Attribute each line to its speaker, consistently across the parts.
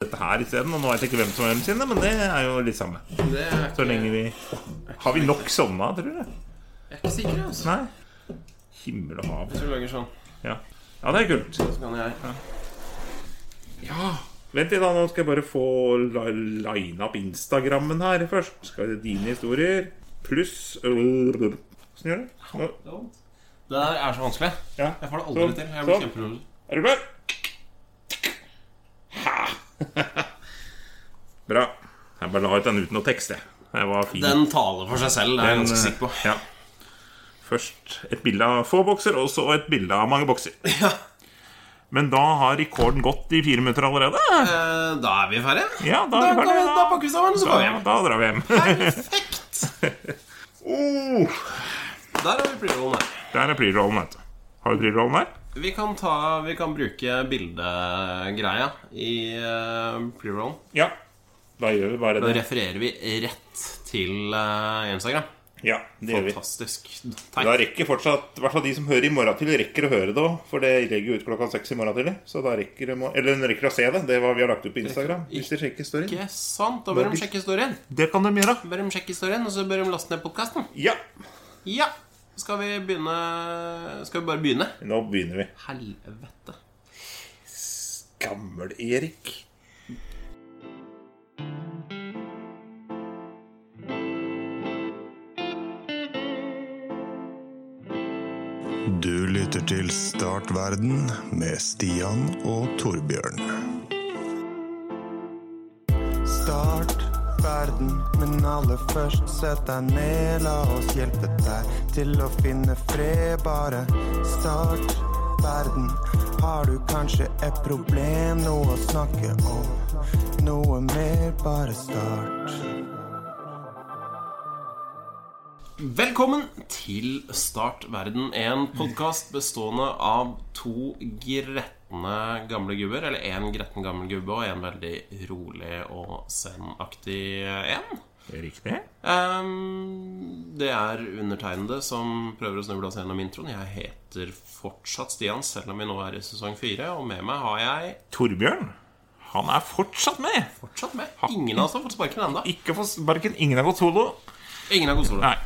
Speaker 1: dette her isteden. Og nå vet jeg ikke hvem som er dem sine, men det er jo litt samme.
Speaker 2: Det er
Speaker 1: Så
Speaker 2: ikke,
Speaker 1: lenge vi Har vi nok sovna, tror du?
Speaker 2: jeg er ikke sikker, altså.
Speaker 1: Nei? Himmel og hav.
Speaker 2: Hvis du lager sånn,
Speaker 1: Ja. ja, det er kult.
Speaker 2: så kan jeg Ja!
Speaker 1: Vent litt, da. Nå skal jeg bare få la- line opp Instagrammen her først. Skal det dine historier pluss Åssen gjør du det? Nå-
Speaker 2: Det der er så vanskelig.
Speaker 1: Ja.
Speaker 2: Jeg får det aldri
Speaker 1: Sånn,
Speaker 2: til. Jeg blir
Speaker 1: sånn.
Speaker 2: kjemperolig.
Speaker 1: Er du klar? Bra. Jeg bare la ut den uten noe tekst, jeg. Det var fin.
Speaker 2: Den taler for seg selv, det er jeg
Speaker 1: Den,
Speaker 2: ganske
Speaker 1: eh,
Speaker 2: sikker på.
Speaker 1: Ja. Først et bilde av få bokser, og så et bilde av mange bokser.
Speaker 2: Ja.
Speaker 1: Men da har rekorden gått i fire minutter allerede.
Speaker 2: Eh, Da er vi ferdige.
Speaker 1: Ja, da,
Speaker 2: Da,
Speaker 1: er vi
Speaker 2: da,
Speaker 1: ferdig,
Speaker 2: da pakker vi sammen, og så går vi
Speaker 1: da,
Speaker 2: hjem.
Speaker 1: da drar vi hjem.
Speaker 2: Perfekt!
Speaker 1: Oh,
Speaker 2: Der har vi pre-rollen her.
Speaker 1: der er pre-rollen, vet du. Har du pre-rollen her?
Speaker 2: Vi kan, ta, vi kan bruke bildegreia i eh, pre-rollen.
Speaker 1: Ja. Da gjør vi bare
Speaker 2: Da
Speaker 1: det.
Speaker 2: refererer vi rett til eh, Instagram.
Speaker 1: Ja, det gjør vi.
Speaker 2: Fantastisk.
Speaker 1: Da
Speaker 2: Takk.
Speaker 1: rekker fortsatt, i hvert fall de som hører i morgen til, rekker å høre det òg. For det legger jo ut klokka seks i morgen tidlig. Så da rekker de å- Eller de rekker å se det. Det er hva vi har lagt ut på Instagram. Hvis de sjekker storyen.
Speaker 2: Ikke sant? Da bør de sjekke historien.
Speaker 1: Det kan de gjøre.
Speaker 2: Bør de sjekke historien, Og så bør de laste ned podkasten.
Speaker 1: Ja.
Speaker 2: Ja! Skal vi begynne Skal vi bare begynne?
Speaker 1: Nå begynner vi.
Speaker 2: Helvete.
Speaker 1: Gammel-Erik.
Speaker 3: Du lytter til Startverden med Stian og Torbjørn. Start verden, men aller først sett deg ned. La oss hjelpe deg til å finne fred. Bare start verden. Har du kanskje et problem, noe å snakke om? Noe mer, bare start.
Speaker 2: Velkommen til Start verden, en podkast bestående av to gretne gamle gubber. Eller én gretten gammel gubbe og en veldig rolig og zen-aktig en.
Speaker 1: Riktig.
Speaker 2: Ehm, det er undertegnede som prøver å snuble oss gjennom introen. Jeg heter fortsatt Stian, selv om vi nå er i sesong fire. Og med meg har jeg
Speaker 1: Torbjørn. Han er fortsatt med.
Speaker 2: fortsatt med. Ingen av oss har fått sparken ennå.
Speaker 1: Ikke for sparken. Ingen har gått solo.
Speaker 2: Ingen har gått solo.
Speaker 1: Nei.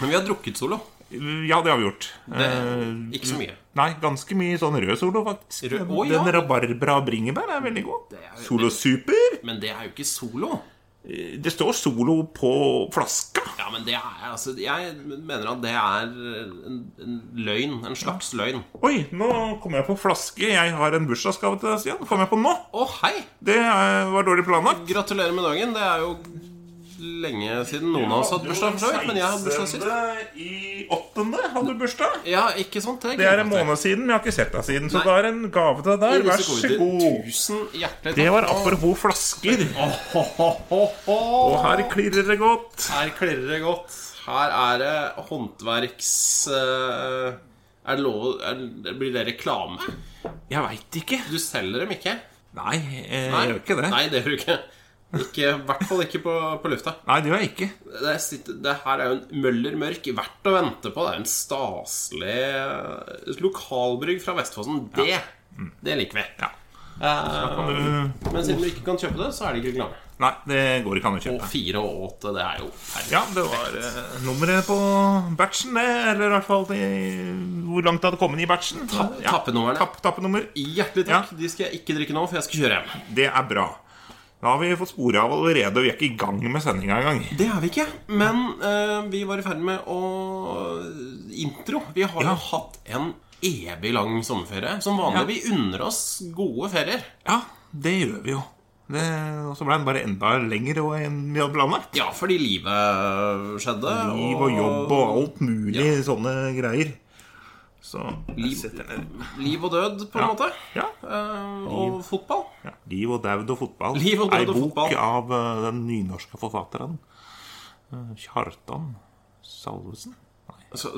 Speaker 2: Men vi har drukket solo.
Speaker 1: Ja, det har vi gjort.
Speaker 2: Det,
Speaker 1: Eh,
Speaker 2: ikke så mye.
Speaker 1: Nei, ganske mye sånn rød solo, faktisk.
Speaker 2: Rød- Å, ja.
Speaker 1: Den rabarbra og bringebær er veldig god.
Speaker 2: er-
Speaker 1: Solo super.
Speaker 2: Men det er jo ikke solo.
Speaker 1: Det står solo på flaska.
Speaker 2: Ja, men det er altså Jeg mener at det er en, en løgn. En slags løgn. Å,
Speaker 1: Oi, nå kom jeg på flaske. Jeg har en bursdagsgave til deg, Stian. Kom jeg på nå?
Speaker 2: hei!
Speaker 1: Det eh, var dårlig planlagt.
Speaker 2: Gratulerer med dagen. Det er jo lenge siden noen av oss hadde bursdag, for så vidt. Men jeg hadde bursdag sist.
Speaker 1: 16. I åttende hadde du bursdag.
Speaker 2: Ja, ikke sant?
Speaker 1: Det er en
Speaker 2: glemte jeg.
Speaker 1: måned siden, men jeg har ikke sett deg siden. Så
Speaker 2: Nei.
Speaker 1: det er en gave til deg der.
Speaker 2: I disse
Speaker 1: Vær så
Speaker 2: covid-tider,
Speaker 1: god.
Speaker 2: Tusen hjertelig takk.
Speaker 1: Det var apropos flasker. Og her klirrer det godt.
Speaker 2: Her klirrer det godt. Her er det håndverks... eh, er det lov er, det- Blir det reklame?
Speaker 1: Jeg veit ikke.
Speaker 2: Du selger dem ikke?
Speaker 1: Nei, eh, jeg gjør ikke det.
Speaker 2: Nei, det gjør du ikke. Ikke, I hvert fall ikke på, på lufta.
Speaker 1: Nei, det gjør jeg ikke.
Speaker 2: Det, sitter, det her er jo en møllermørk verdt å vente på. Det er en staselig eh, lokalbrygg fra Vestfossen. Det, det liker vi.
Speaker 1: Ja.
Speaker 2: Eh,
Speaker 1: Eh,
Speaker 2: men siden du ikke kan kjøpe det, så er det ikke reklame.
Speaker 1: Nei, det går ikke an å
Speaker 2: Og
Speaker 1: kjøpe.
Speaker 2: fire og åtte, det er jo perfekt.
Speaker 1: Ja, det var eh, nummeret på batchen, det. Eller i hvert fall det, hvor langt det hadde kommet i batchen. Ja.
Speaker 2: Tappenumrene.
Speaker 1: Tapp, tappenummer.
Speaker 2: Hjertelig takk. De skal jeg ikke drikke nå, for jeg skal kjøre hjem.
Speaker 1: Det er bra. Da har vi fått spore av allerede, og vi er ikke i gang med sendinga engang.
Speaker 2: Det er vi ikke, men eh, vi var i ferd med å Intro. Vi har jo hatt en evig lang sommerferie. Som vanlig. Vi unner oss gode ferier.
Speaker 1: Ja, det gjør vi jo. Det, og så ble den bare enda lengre og enn vi hadde planlagt.
Speaker 2: Ja, fordi livet skjedde.
Speaker 1: Liv og jobb og alt mulig sånne greier. Så
Speaker 2: Liv-
Speaker 1: setter jeg ned.
Speaker 2: liv og død, på en måte.
Speaker 1: Ja.
Speaker 2: Eh, og fotball.
Speaker 1: ja. Liv og daud og fotball.
Speaker 2: Liv og daud
Speaker 1: Ei
Speaker 2: og
Speaker 1: bok
Speaker 2: fotball.
Speaker 1: av eh, den nynorske forfatteren eh, Kjartan Salvesen.
Speaker 2: Så,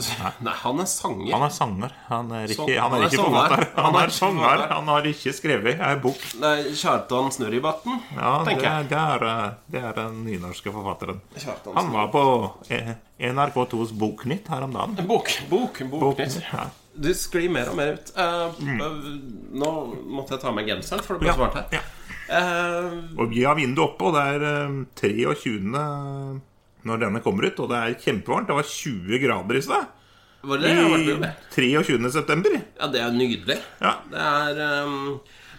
Speaker 2: nei, han er sanger.
Speaker 1: Han er sanger. Han er ikke,
Speaker 2: Sånn.
Speaker 1: han er ikke
Speaker 2: sanger.
Speaker 1: forfatter. Han er sanger.
Speaker 2: forfatter.
Speaker 1: Han har ikke skrevet ei bok.
Speaker 2: Nei, Kjartan Snurribatten,
Speaker 1: Ja, det,
Speaker 2: tenker jeg.
Speaker 1: det, er, eh, det er den nynorske forfatteren.
Speaker 2: Kjartan
Speaker 1: Han var på eh, NRK2s Boknytt her om dagen.
Speaker 2: Snurri- Bok, bok, boknytt.
Speaker 1: Ja.
Speaker 2: Du sklir mer og mer ut. Eh, eh, Nå måtte jeg ta av meg genseren, for det ble så varmt her.
Speaker 1: Mm. Ja.
Speaker 2: Eh,
Speaker 1: Og vi har vinduet oppe, og det er eh, 23. når denne kommer ut. Og det er kjempevarmt. Det var 20 grader i stad.
Speaker 2: var det det? Jeg har vært med
Speaker 1: I
Speaker 2: om det.
Speaker 1: 23. september.
Speaker 2: Ja, det er nydelig.
Speaker 1: Ja.
Speaker 2: Det er ehm,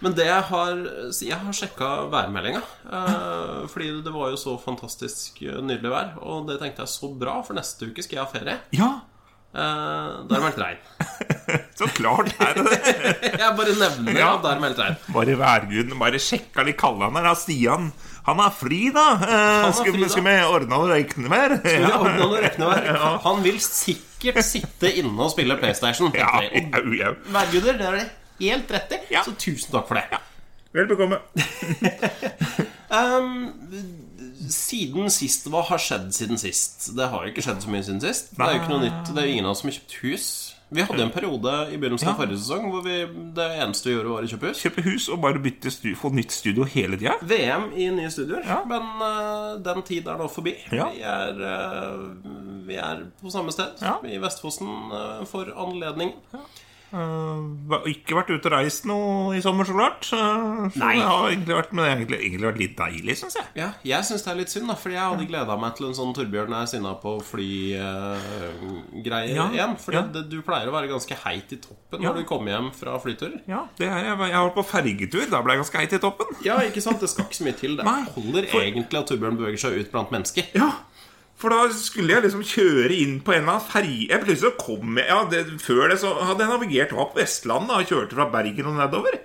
Speaker 2: Men det jeg har så Jeg har sjekka værmeldinga. eh, fordi det var jo så fantastisk eh, nydelig vær. Og det tenkte jeg så bra, for neste uke skal jeg ha ferie.
Speaker 1: ja,
Speaker 2: Eh, der meldte regn.
Speaker 1: så klart er det det.
Speaker 2: Jeg bare nevner
Speaker 1: Ja.
Speaker 2: at der meldte regn.
Speaker 1: Bare værguden, bare sjekka litt kallen her. da. Stian, han er fri, da. Eh,
Speaker 2: er
Speaker 1: skal,
Speaker 2: fri, da.
Speaker 1: skal vi ordne og røykne mer?
Speaker 2: Men
Speaker 1: Ja.
Speaker 2: jeg ordner noe regnevær. Han vil sikkert sitte inne og spille PlayStation.
Speaker 1: Ja,
Speaker 2: tenkte jeg.
Speaker 1: jau, jau.
Speaker 2: Og værguder, det er det helt rett i.
Speaker 1: Ja.
Speaker 2: Så tusen takk for det.
Speaker 1: Vel bekomme.
Speaker 2: Siden sist, hva har skjedd siden sist? Det har jo ikke skjedd så mye siden sist. Det er jo ikke noe nytt. Det er jo ingen av oss som har kjøpt hus. Vi hadde en periode i begynnelsen av forrige sesong hvor vi, det eneste vi gjorde, var å kjøpe hus.
Speaker 1: Kjøpe hus og bare bytte stu, få nytt studio hele tida.
Speaker 2: VM i nye studioer,
Speaker 1: Ja.
Speaker 2: men eh, den tid er nå forbi.
Speaker 1: Ja.
Speaker 2: Vi, er, eh, vi er på samme sted,
Speaker 1: Ja.
Speaker 2: i Vestfossen, eh, for anledningen.
Speaker 1: Eh, Ikke vært ute og reist noe i sommer, så klart. Eh, Så
Speaker 2: Nei.
Speaker 1: det har egentlig vært, men det har egentlig, egentlig vært litt deilig, syns jeg.
Speaker 2: Ja, jeg syns det er litt synd, da, fordi jeg hadde gleda meg til en sånn Torbjørn er sinna på fly-greie
Speaker 1: Ja,
Speaker 2: igjen. For
Speaker 1: ja.
Speaker 2: du pleier å være ganske heit i toppen
Speaker 1: Ja.
Speaker 2: når du kommer hjem fra flyturer.
Speaker 1: Ja, det er, jeg, jeg har vært på fergetur. Da ble jeg ganske heit i toppen.
Speaker 2: Ja, ikke sant? Det skal ikke så mye til. Det
Speaker 1: Nei,
Speaker 2: holder
Speaker 1: for-
Speaker 2: egentlig at Torbjørn beveger seg ut blant mennesker.
Speaker 1: Ja, for da skulle jeg liksom kjøre inn på en eller annen ferge Jeg Plutselig så kom jeg ja, det, Før det så hadde jeg navigert var på Vestlandet da, og kjørte fra Bergen og nedover.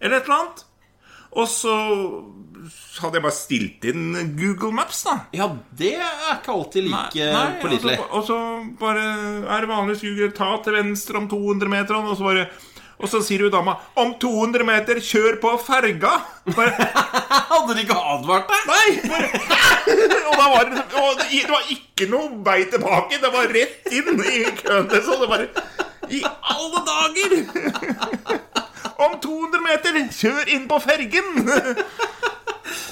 Speaker 1: Eller et eller annet. Og så hadde jeg bare stilt inn Google Maps, da.
Speaker 2: Ja, det er ikke alltid like
Speaker 1: Nei, altså,
Speaker 2: pålitelig.
Speaker 1: Og så, og så bare er det vanligvis Google ta til venstre om 200 meter, og så bare og så sier jo dama 'Om 200 meter, kjør på ferga!' Bare,
Speaker 2: Hadde de ikke advart deg?
Speaker 1: nei! Bare, og da var det, og det det var ikke noe vei tilbake. Det var rett inn i køen. Det Så det bare I alle dager! Om 200 meter, kjør inn på fergen!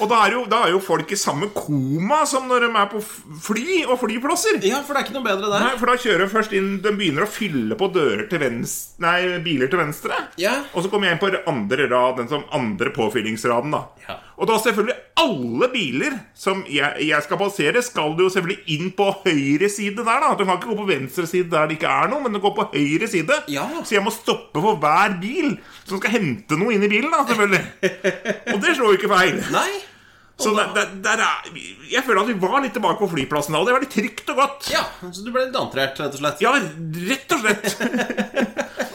Speaker 1: Og da er, jo, da er jo folk i samme koma som når de er på f- fly og flyplasser.
Speaker 2: Ja, for det er ikke noe bedre der.
Speaker 1: Nei, for da kjører de først inn De begynner å fylle på dører til venstre Nei, biler til venstre
Speaker 2: Ja.
Speaker 1: Og så kommer jeg inn på andre rad Den som andre påfyllingsraden da
Speaker 2: Ja.
Speaker 1: Og da selvfølgelig alle biler Som jeg, jeg skal passere Skal du jo selvfølgelig inn på høyre side der da Du kan ikke gå på venstre side der det ikke er noe Men du går på høyre side
Speaker 2: Ja.
Speaker 1: Så jeg må stoppe for hver bil Som skal hente noe inn i bilen da selvfølgelig Og det slår jo ikke feil
Speaker 2: Nei.
Speaker 1: Så der, der, der er, jeg føler at vi var litt tilbake på flyplassen da Og det var litt trygt og godt
Speaker 2: Ja, så du ble litt antrert, rett og slett.
Speaker 1: ja, rett og slett.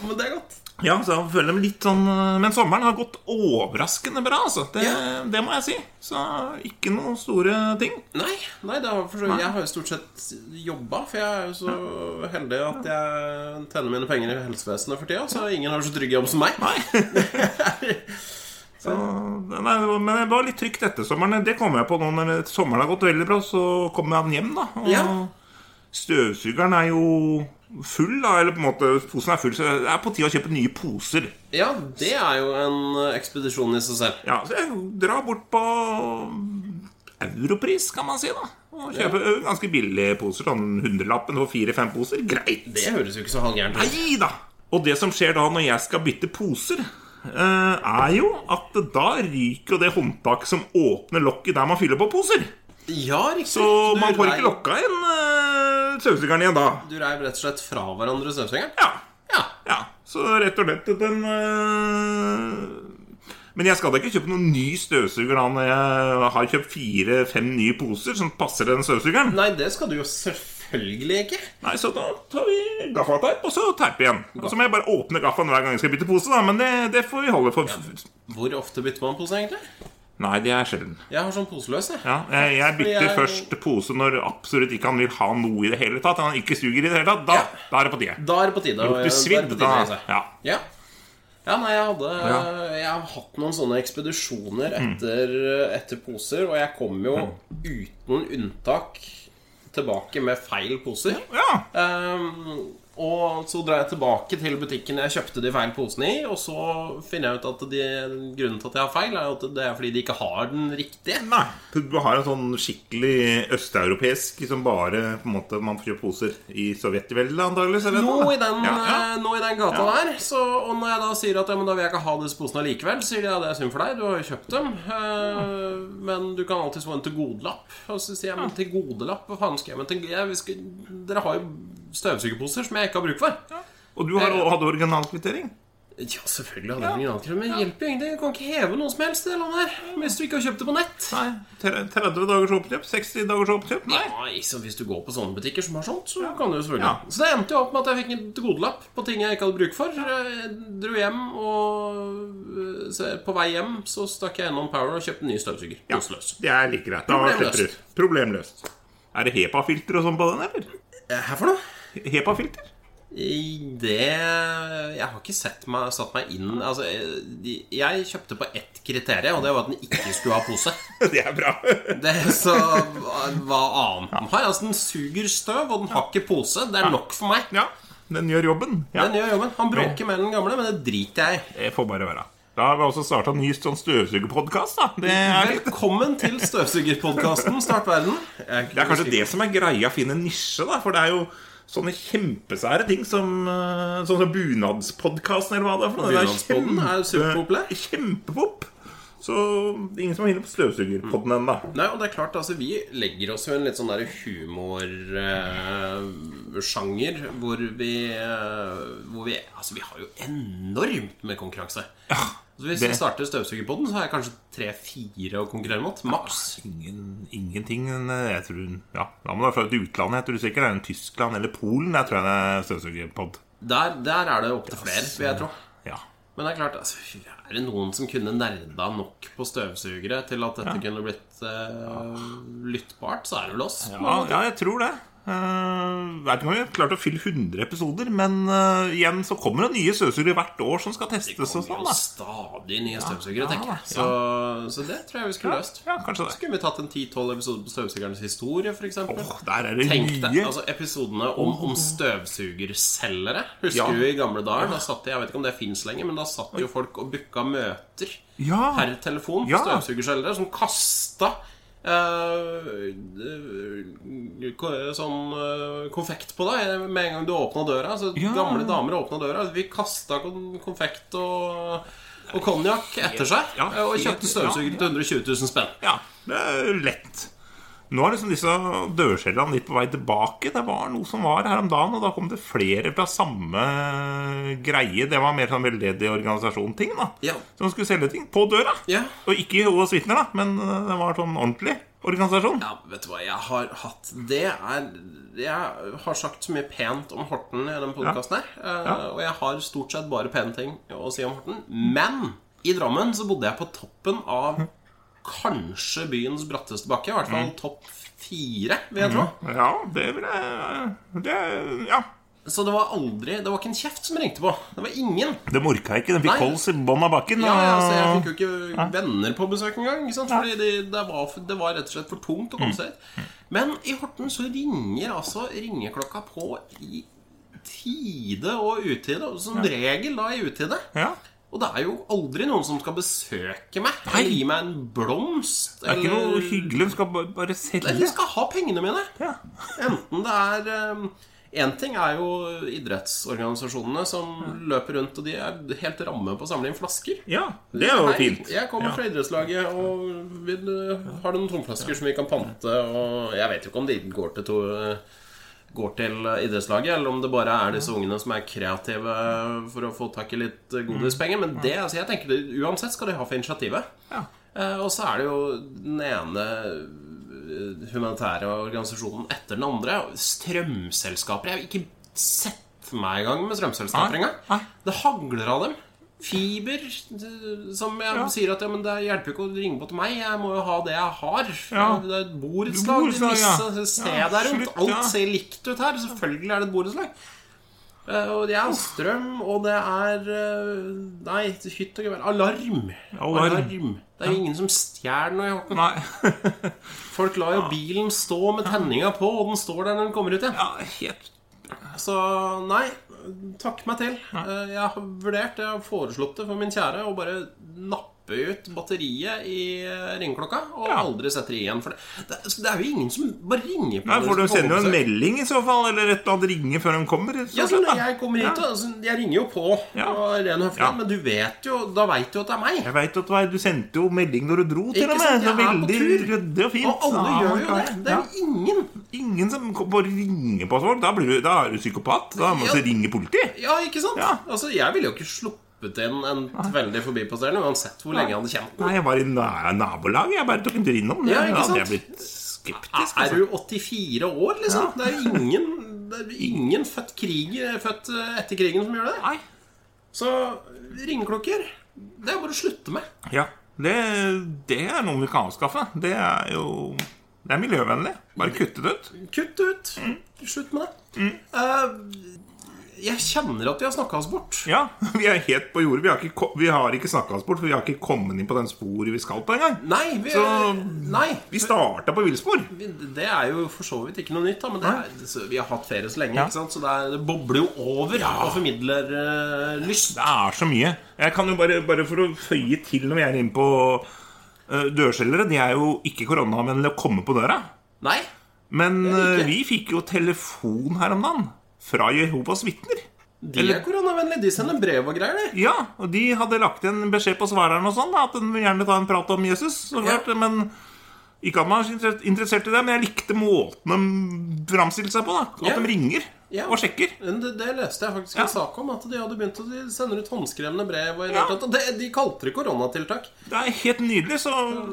Speaker 2: Men det er godt.
Speaker 1: Ja, så jeg føler meg litt sånn Men sommeren har gått overraskende bra, altså. Det,
Speaker 2: Ja.
Speaker 1: det må jeg si. Så ikke noen store ting.
Speaker 2: Nei, nei, det har, for så, jeg har jo stort sett jobba, for jeg er jo så heldig at jeg tjener mine penger i helsevesenet for tida, så ingen har så trygg jobb som meg.
Speaker 1: Så, nei, men det var litt trygt etter sommeren. Det kom jeg på nå når sommeren har gått veldig bra. Så kom han hjem, da. Og
Speaker 2: Ja.
Speaker 1: støvsugeren er jo full, da. Eller på en måte posen er full, så det er på tide å kjøpe nye poser.
Speaker 2: Ja, det er jo en ekspedisjon i seg selv.
Speaker 1: Ja, så jeg drar bort på Europris, kan man si, da. Og kjøper ganske billige poser. Sånn hundrelappen for fire-fem poser. Greit.
Speaker 2: Det høres jo ikke så halvgærent ut.
Speaker 1: Nei da! Og det som skjer da når jeg skal bytte poser, eh, er jo at da ryker jo det håndtaket som åpner lokket der man fyller på poser.
Speaker 2: Ja, riktig.
Speaker 1: Så
Speaker 2: Du
Speaker 1: man får
Speaker 2: rei-
Speaker 1: ikke lokka igjen uh, støvsugeren igjen da.
Speaker 2: Du reiv rett og slett fra hverandre støvsugeren?
Speaker 1: Ja.
Speaker 2: Ja.
Speaker 1: ja. Så rett og slett den eh, Men jeg skal da ikke kjøpe noen ny støvsuger da når jeg har kjøpt fire-fem nye poser som passer den støvsugeren.
Speaker 2: Nei, det skal du jo selvfølgelig ikke.
Speaker 1: Nei, så da tar vi gaffateip, og så teiper igjen. Og så må jeg bare åpne gaffaen hver gang jeg skal bytte pose, da. Men det, det får vi holde for
Speaker 2: Hvor ofte bytter man pose, egentlig?
Speaker 1: Nei, det er sjelden.
Speaker 2: Jeg har sånn poseløs, jeg.
Speaker 1: Ja, jeg, jeg bytter
Speaker 2: jeg-
Speaker 1: først pose når absolutt ikke han vil ha noe i det hele tatt. Han ikke suger i det hele tatt. Da, da er det på tide.
Speaker 2: Da er det på tide. å-
Speaker 1: Lukter
Speaker 2: er
Speaker 1: svidd,
Speaker 2: det på
Speaker 1: da.
Speaker 2: tide, altså.
Speaker 1: Ja.
Speaker 2: Ja. Ja, nei, jeg hadde
Speaker 1: Ja. Mm.
Speaker 2: Jeg har hatt noen sånne ekspedisjoner etter, etter poser, og jeg kom jo uten unntak tilbake med feil poser.
Speaker 1: ja.
Speaker 2: Ehm, Og så drar jeg tilbake til butikken jeg kjøpte de feil posene i. Og så finner jeg ut at de, grunnen til at jeg har feil, er at det er fordi de ikke har den riktige.
Speaker 1: Nei. Du har en sånn skikkelig østeuropeisk som bare på en måte, man får kjøpt poser i Sovjetveldet, antakeligvis? eller
Speaker 2: Nå
Speaker 1: noe?
Speaker 2: i den,
Speaker 1: Ja, ja.
Speaker 2: eh, Nå i den gata der. Så, og når jeg da sier at ja, men da vil jeg ikke ha disse posene likevel, sier de ja, det er synd for deg, du har jo kjøpt dem. Eh, men du kan alltids få en til gode-lapp. Og så sier jeg men til gode-lapp? Hva faen skal jeg med til jeg, vi skal, Dere har jo støvsugerposer som jeg ikke har bruk for.
Speaker 1: Og du
Speaker 2: eh,
Speaker 1: har, hadde originalkvittering?
Speaker 2: Ja, selvfølgelig hadde jeg originalkrem, men det hjelper jo ingenting. Du kan ikke heve noe som helst i det landet her hvis du ikke har kjøpt det på nett.
Speaker 1: Nei. tre- 30 dagers oppkjøp? 60 dagers oppkjøp? Nei.
Speaker 2: Nei, så Hvis du går på sånne butikker som har sånt, så kan du jo selvfølgelig.
Speaker 1: Ja.
Speaker 2: Så det endte jo opp med at jeg fikk en tilgodelapp på ting jeg ikke hadde bruk for. Jeg dro hjem, og eh, så på vei hjem så stakk jeg innom Power og kjøpte en ny støvsuger.
Speaker 1: Ja,
Speaker 2: Poseløs.
Speaker 1: det er like greit. Da
Speaker 2: Problemløst.
Speaker 1: slipper du. Problemløst. Er det HEPA-filter og sånn på den, eller?
Speaker 2: Eh, Her for noe?
Speaker 1: HEPA-filter?
Speaker 2: I det Jeg har ikke sett meg, satt meg inn Altså, eh, de- jeg kjøpte på ett kriterium, og det var at den ikke skulle ha pose.
Speaker 1: Det er bra.
Speaker 2: Det er så Hva annet den har? Altså, den suger støv, og den har ikke pose. Det er nok for meg.
Speaker 1: Ja, den gjør jobben. Ja.
Speaker 2: Den gjør jobben. Han bråker med den gamle, men det driter jeg i.
Speaker 1: Det får bare være. Da har vi også starta ny sånn støvsugerpodkast, da. Det er,
Speaker 2: Velkommen til støvsugerpodkasten Start verden. Jeg-
Speaker 1: det er kanskje det som er greia, å finne en nisje, da. For det er jo sånne kjempesære ting som eh, Sånn som bunadspodkasten, eller hva det er. for noe. Det
Speaker 2: Bunadspodden er jo superpopulær.
Speaker 1: Kjempepop. Så det er ingen som har inne på støvsugerpodden ennå.
Speaker 2: Nei, og det er klart, altså, Vi legger oss jo i en litt sånn der humorsjanger hvor vi eh, Hvor vi Altså, vi har jo enormt med konkurranse. Så hvis vi
Speaker 1: det-
Speaker 2: starter støvsugerpodden, så har jeg kanskje tre-fire å konkurrere mot. Maks.
Speaker 1: Ingen, ingenting men eh, jeg tror, ja, Da må du være fra et utland. Jeg tror sikkert det er en Tyskland eller Polen. Jeg tror jeg det er støvsugerpod.
Speaker 2: Der, der er det opptil flere, vil jeg tro.
Speaker 1: Ja.
Speaker 2: Men det er klart, altså, fy, er det noen som kunne nerda nok på støvsugere til at dette kunne blitt eh, lyttbart, så er det vel oss.
Speaker 1: Ja, ja, jeg tror det. Uh, vet ikke om vi har klart å fylle 100 episoder, men eh, igjen så kommer det nye støvsugere hvert år som skal testes og
Speaker 2: Det
Speaker 1: sånn.
Speaker 2: kommer jo
Speaker 1: da
Speaker 2: stadig nye støvsugere,
Speaker 1: ja,
Speaker 2: tenker
Speaker 1: ja.
Speaker 2: jeg. Så, så det tror jeg vi skulle løst.
Speaker 1: Ja, kanskje det.
Speaker 2: Skulle vi tatt en 10-12 episoder på støvsugernes historie, f.eks.?
Speaker 1: Åh, der er det
Speaker 2: Tenk deg,
Speaker 1: mye.
Speaker 2: altså Episodene om, om støvsugerselgere. Husker
Speaker 1: Ja.
Speaker 2: du i gamle dager? Da satt det, Jeg vet ikke om det fins lenger, men da satt jo folk og booka møter
Speaker 1: Ja.
Speaker 2: per telefon.
Speaker 1: Ja.
Speaker 2: Støvsugerselgere som kasta eh, eh, ko- sånn eh, konfekt på deg med en gang du åpna døra. Så
Speaker 1: Ja.
Speaker 2: Gamle damer åpna døra. Vi kasta kon konfekt og, og konjakk etter seg. eh,
Speaker 1: Ja,
Speaker 2: og
Speaker 1: helt-
Speaker 2: kjøpte støvsugere til 120 000 spenn.
Speaker 1: Ja, det er lett. Nå er liksom disse dørskjellene litt på vei tilbake. Det var noe som var her om dagen, og da kom det flere fra samme eh, greie. Det var mer sånn veldedig organisasjon-ting, da.
Speaker 2: Ja.
Speaker 1: Som skulle selge ting på døra.
Speaker 2: Ja.
Speaker 1: Og ikke hos vitner, da, men det var sånn ordentlig organisasjon.
Speaker 2: Ja, vet du hva, jeg har hatt Det er Jeg har sagt så mye pent om Horten i den podkasten her. eh,
Speaker 1: Ja.
Speaker 2: Og jeg har stort sett bare pene ting å si om Horten. Men i Drammen så bodde jeg på toppen av kanskje byens bratteste bakke. I hvert fall
Speaker 1: Mm.
Speaker 2: topp fire, vil jeg tro.
Speaker 1: Ja, det vil jeg det, Ja.
Speaker 2: Så det var aldri Det var ikke en kjeft som ringte på. Det var ingen.
Speaker 1: Det morka ikke. Den
Speaker 2: Nei.
Speaker 1: fikk kols i bånn av bakken.
Speaker 2: Ja, ja,
Speaker 1: og-
Speaker 2: så Jeg fikk jo
Speaker 1: Ah.
Speaker 2: ikke venner på besøk engang. Ikke sant? Fordi de, det, var, for- det var rett og slett for tungt å
Speaker 1: Mm.
Speaker 2: komme seg dit. Men i Horten så ringer altså ringeklokka på i tide og utide. og Som regel da i utide.
Speaker 1: Ja.
Speaker 2: Og det er jo aldri noen som skal besøke meg
Speaker 1: Nei.
Speaker 2: eller gi meg en blomst.
Speaker 1: Det er ikke noe
Speaker 2: eller-
Speaker 1: hyggelig. De skal bare, bare selge.
Speaker 2: eller skal ha pengene mine.
Speaker 1: Ja.
Speaker 2: Enten det er Én ting er jo idrettsorganisasjonene som løper rundt, og de er helt ramme på å samle inn flasker.
Speaker 1: ja, det er jo
Speaker 2: Hei,
Speaker 1: fint.
Speaker 2: Jeg kommer fra idrettslaget, og vil, har du noen tomflasker som vi kan pante? Og jeg vet jo ikke om de går til to eh, Går til idrettslaget, eller om det bare er disse ungene som er kreative for å få tak i litt godispenger. Men
Speaker 1: Mm.
Speaker 2: det, altså, jeg tenker det, uansett skal de ha for initiativet.
Speaker 1: Ja.
Speaker 2: Eh, Og så er det jo den ene eh, humanitære organisasjonen etter den andre. Strømselskaper. Jeg har ikke sett meg i gang med strømselskaper
Speaker 1: Nei, nei.
Speaker 2: engang. Det hagler av dem. Fiber, eh, som jeg sier at ja, men det hjelper jo ikke å ringe på til meg. Jeg må jo ha det jeg har.
Speaker 1: Ja.
Speaker 2: Det er et borettslag.
Speaker 1: Borettslag,
Speaker 2: Borettslag,
Speaker 1: ja.
Speaker 2: Se
Speaker 1: Ja,
Speaker 2: der rundt.
Speaker 1: slutt,
Speaker 2: Alt
Speaker 1: ja.
Speaker 2: ser likt ut her. Selvfølgelig er det et borettslag. Eh, Og det er strøm, og det er eh, Nei, hytt og gevær. Alarm.
Speaker 1: Alarm.
Speaker 2: Det er jo ingen som stjeler noe i Horten.
Speaker 1: Nei.
Speaker 2: Folk lar jo bilen stå med tenninga på, og den står der når den kommer ut igjen.
Speaker 1: Ja, helt
Speaker 2: Så nei, takk meg til. Eh, Jeg har vurdert, jeg har foreslått det for min kjære å bare nappe ut batteriet i eh, ringeklokka og
Speaker 1: Ja.
Speaker 2: aldri sette det i igjen. For det, det, det er jo ingen som bare ringer på
Speaker 1: Nei,
Speaker 2: når
Speaker 1: for
Speaker 2: de
Speaker 1: Du
Speaker 2: skal
Speaker 1: sender jo
Speaker 2: komme
Speaker 1: en
Speaker 2: seg.
Speaker 1: melding i så fall, eller et eller annet ringe før de kommer. rett og
Speaker 2: Ja, så
Speaker 1: slett,
Speaker 2: når
Speaker 1: da.
Speaker 2: jeg kommer hit,
Speaker 1: Ja.
Speaker 2: da, så jeg ringer jo på.
Speaker 1: Ja.
Speaker 2: Og ren høflig,
Speaker 1: Ja.
Speaker 2: Men du vet jo, da veit du at det er meg.
Speaker 1: Jeg vet at du er- Du sendte jo melding når du dro, til
Speaker 2: Ikke
Speaker 1: og
Speaker 2: sant,
Speaker 1: med. Så
Speaker 2: jeg er på
Speaker 1: veldig
Speaker 2: tur.
Speaker 1: ryddig og fint.
Speaker 2: Og alle
Speaker 1: Ja,
Speaker 2: gjør jo
Speaker 1: ja,
Speaker 2: det. Det
Speaker 1: ja.
Speaker 2: er ingen.
Speaker 1: Ingen som kom- bare ringer på folk. Da, blir du, da er du psykopat. Da må
Speaker 2: Ja.
Speaker 1: du ringe politiet.
Speaker 2: Ja, ikke sant?
Speaker 1: Ja.
Speaker 2: Altså, Jeg ville jo ikke sluppet inn en veldig forbipasserende uansett hvor lenge jeg hadde kjent den.
Speaker 1: Nei, jeg var i na nabolaget. Jeg bare tok en tur innom.
Speaker 2: Ja,
Speaker 1: Jeg
Speaker 2: ikke sant?
Speaker 1: hadde jeg blitt skeptisk.
Speaker 2: Er
Speaker 1: Altså.
Speaker 2: du 84 år, liksom? Det er jo ingen, det er ingen født, krig, født eh, etter krigen som gjør det.
Speaker 1: Nei.
Speaker 2: Så ringeklokker Det er bare å slutte med.
Speaker 1: Ja. Det, det er noe vi kan avskaffe. Det er jo Det er miljøvennlig. Bare kutte det ut.
Speaker 2: Kutt det ut. Slutt med det.
Speaker 1: Mm.
Speaker 2: Eh, jeg kjenner at vi har snakka oss bort.
Speaker 1: Ja, Vi er helt på jordet. Vi har ikke, ko- vi har ikke snakka oss bort, for vi har ikke kommet inn på den sporet vi skal på engang.
Speaker 2: Nei, vi,
Speaker 1: Så-
Speaker 2: nei
Speaker 1: Vi starta på villspor.
Speaker 2: vi, det er jo for så vidt ikke noe nytt, da. Men det er, så vi har hatt ferie så lenge,
Speaker 1: Ja.
Speaker 2: ikke sant? så det, er, det bobler jo over og formidler eh, lyst.
Speaker 1: Det er så mye. Jeg kan jo bare, bare for å føye til når vi er inne på eh, dørselgere De er jo ikke koronavennlige å komme på døra.
Speaker 2: Nei?
Speaker 1: Men
Speaker 2: er de ikke.
Speaker 1: eh, vi fikk jo telefon her om dagen fra Jehovas vitner.
Speaker 2: De er koronavennlige. De sender brev og greier, de.
Speaker 1: Ja, og de hadde lagt igjen beskjed på svareren og sånn, da, at de vil gjerne ta en prat om Jesus. Så
Speaker 2: Ja.
Speaker 1: klart, Men ikke at man er så interessert i det, men jeg likte måten de framstilte seg på. da At
Speaker 2: Ja.
Speaker 1: de ringer
Speaker 2: Ja.
Speaker 1: og sjekker.
Speaker 2: Men Det, det leste jeg faktisk
Speaker 1: Ja.
Speaker 2: en sak om. At de hadde begynt å de sender ut håndskrevne brev. Og i det
Speaker 1: Ja.
Speaker 2: hele tatt, og det, de kalte det koronatiltak.
Speaker 1: Det er helt nydelig, så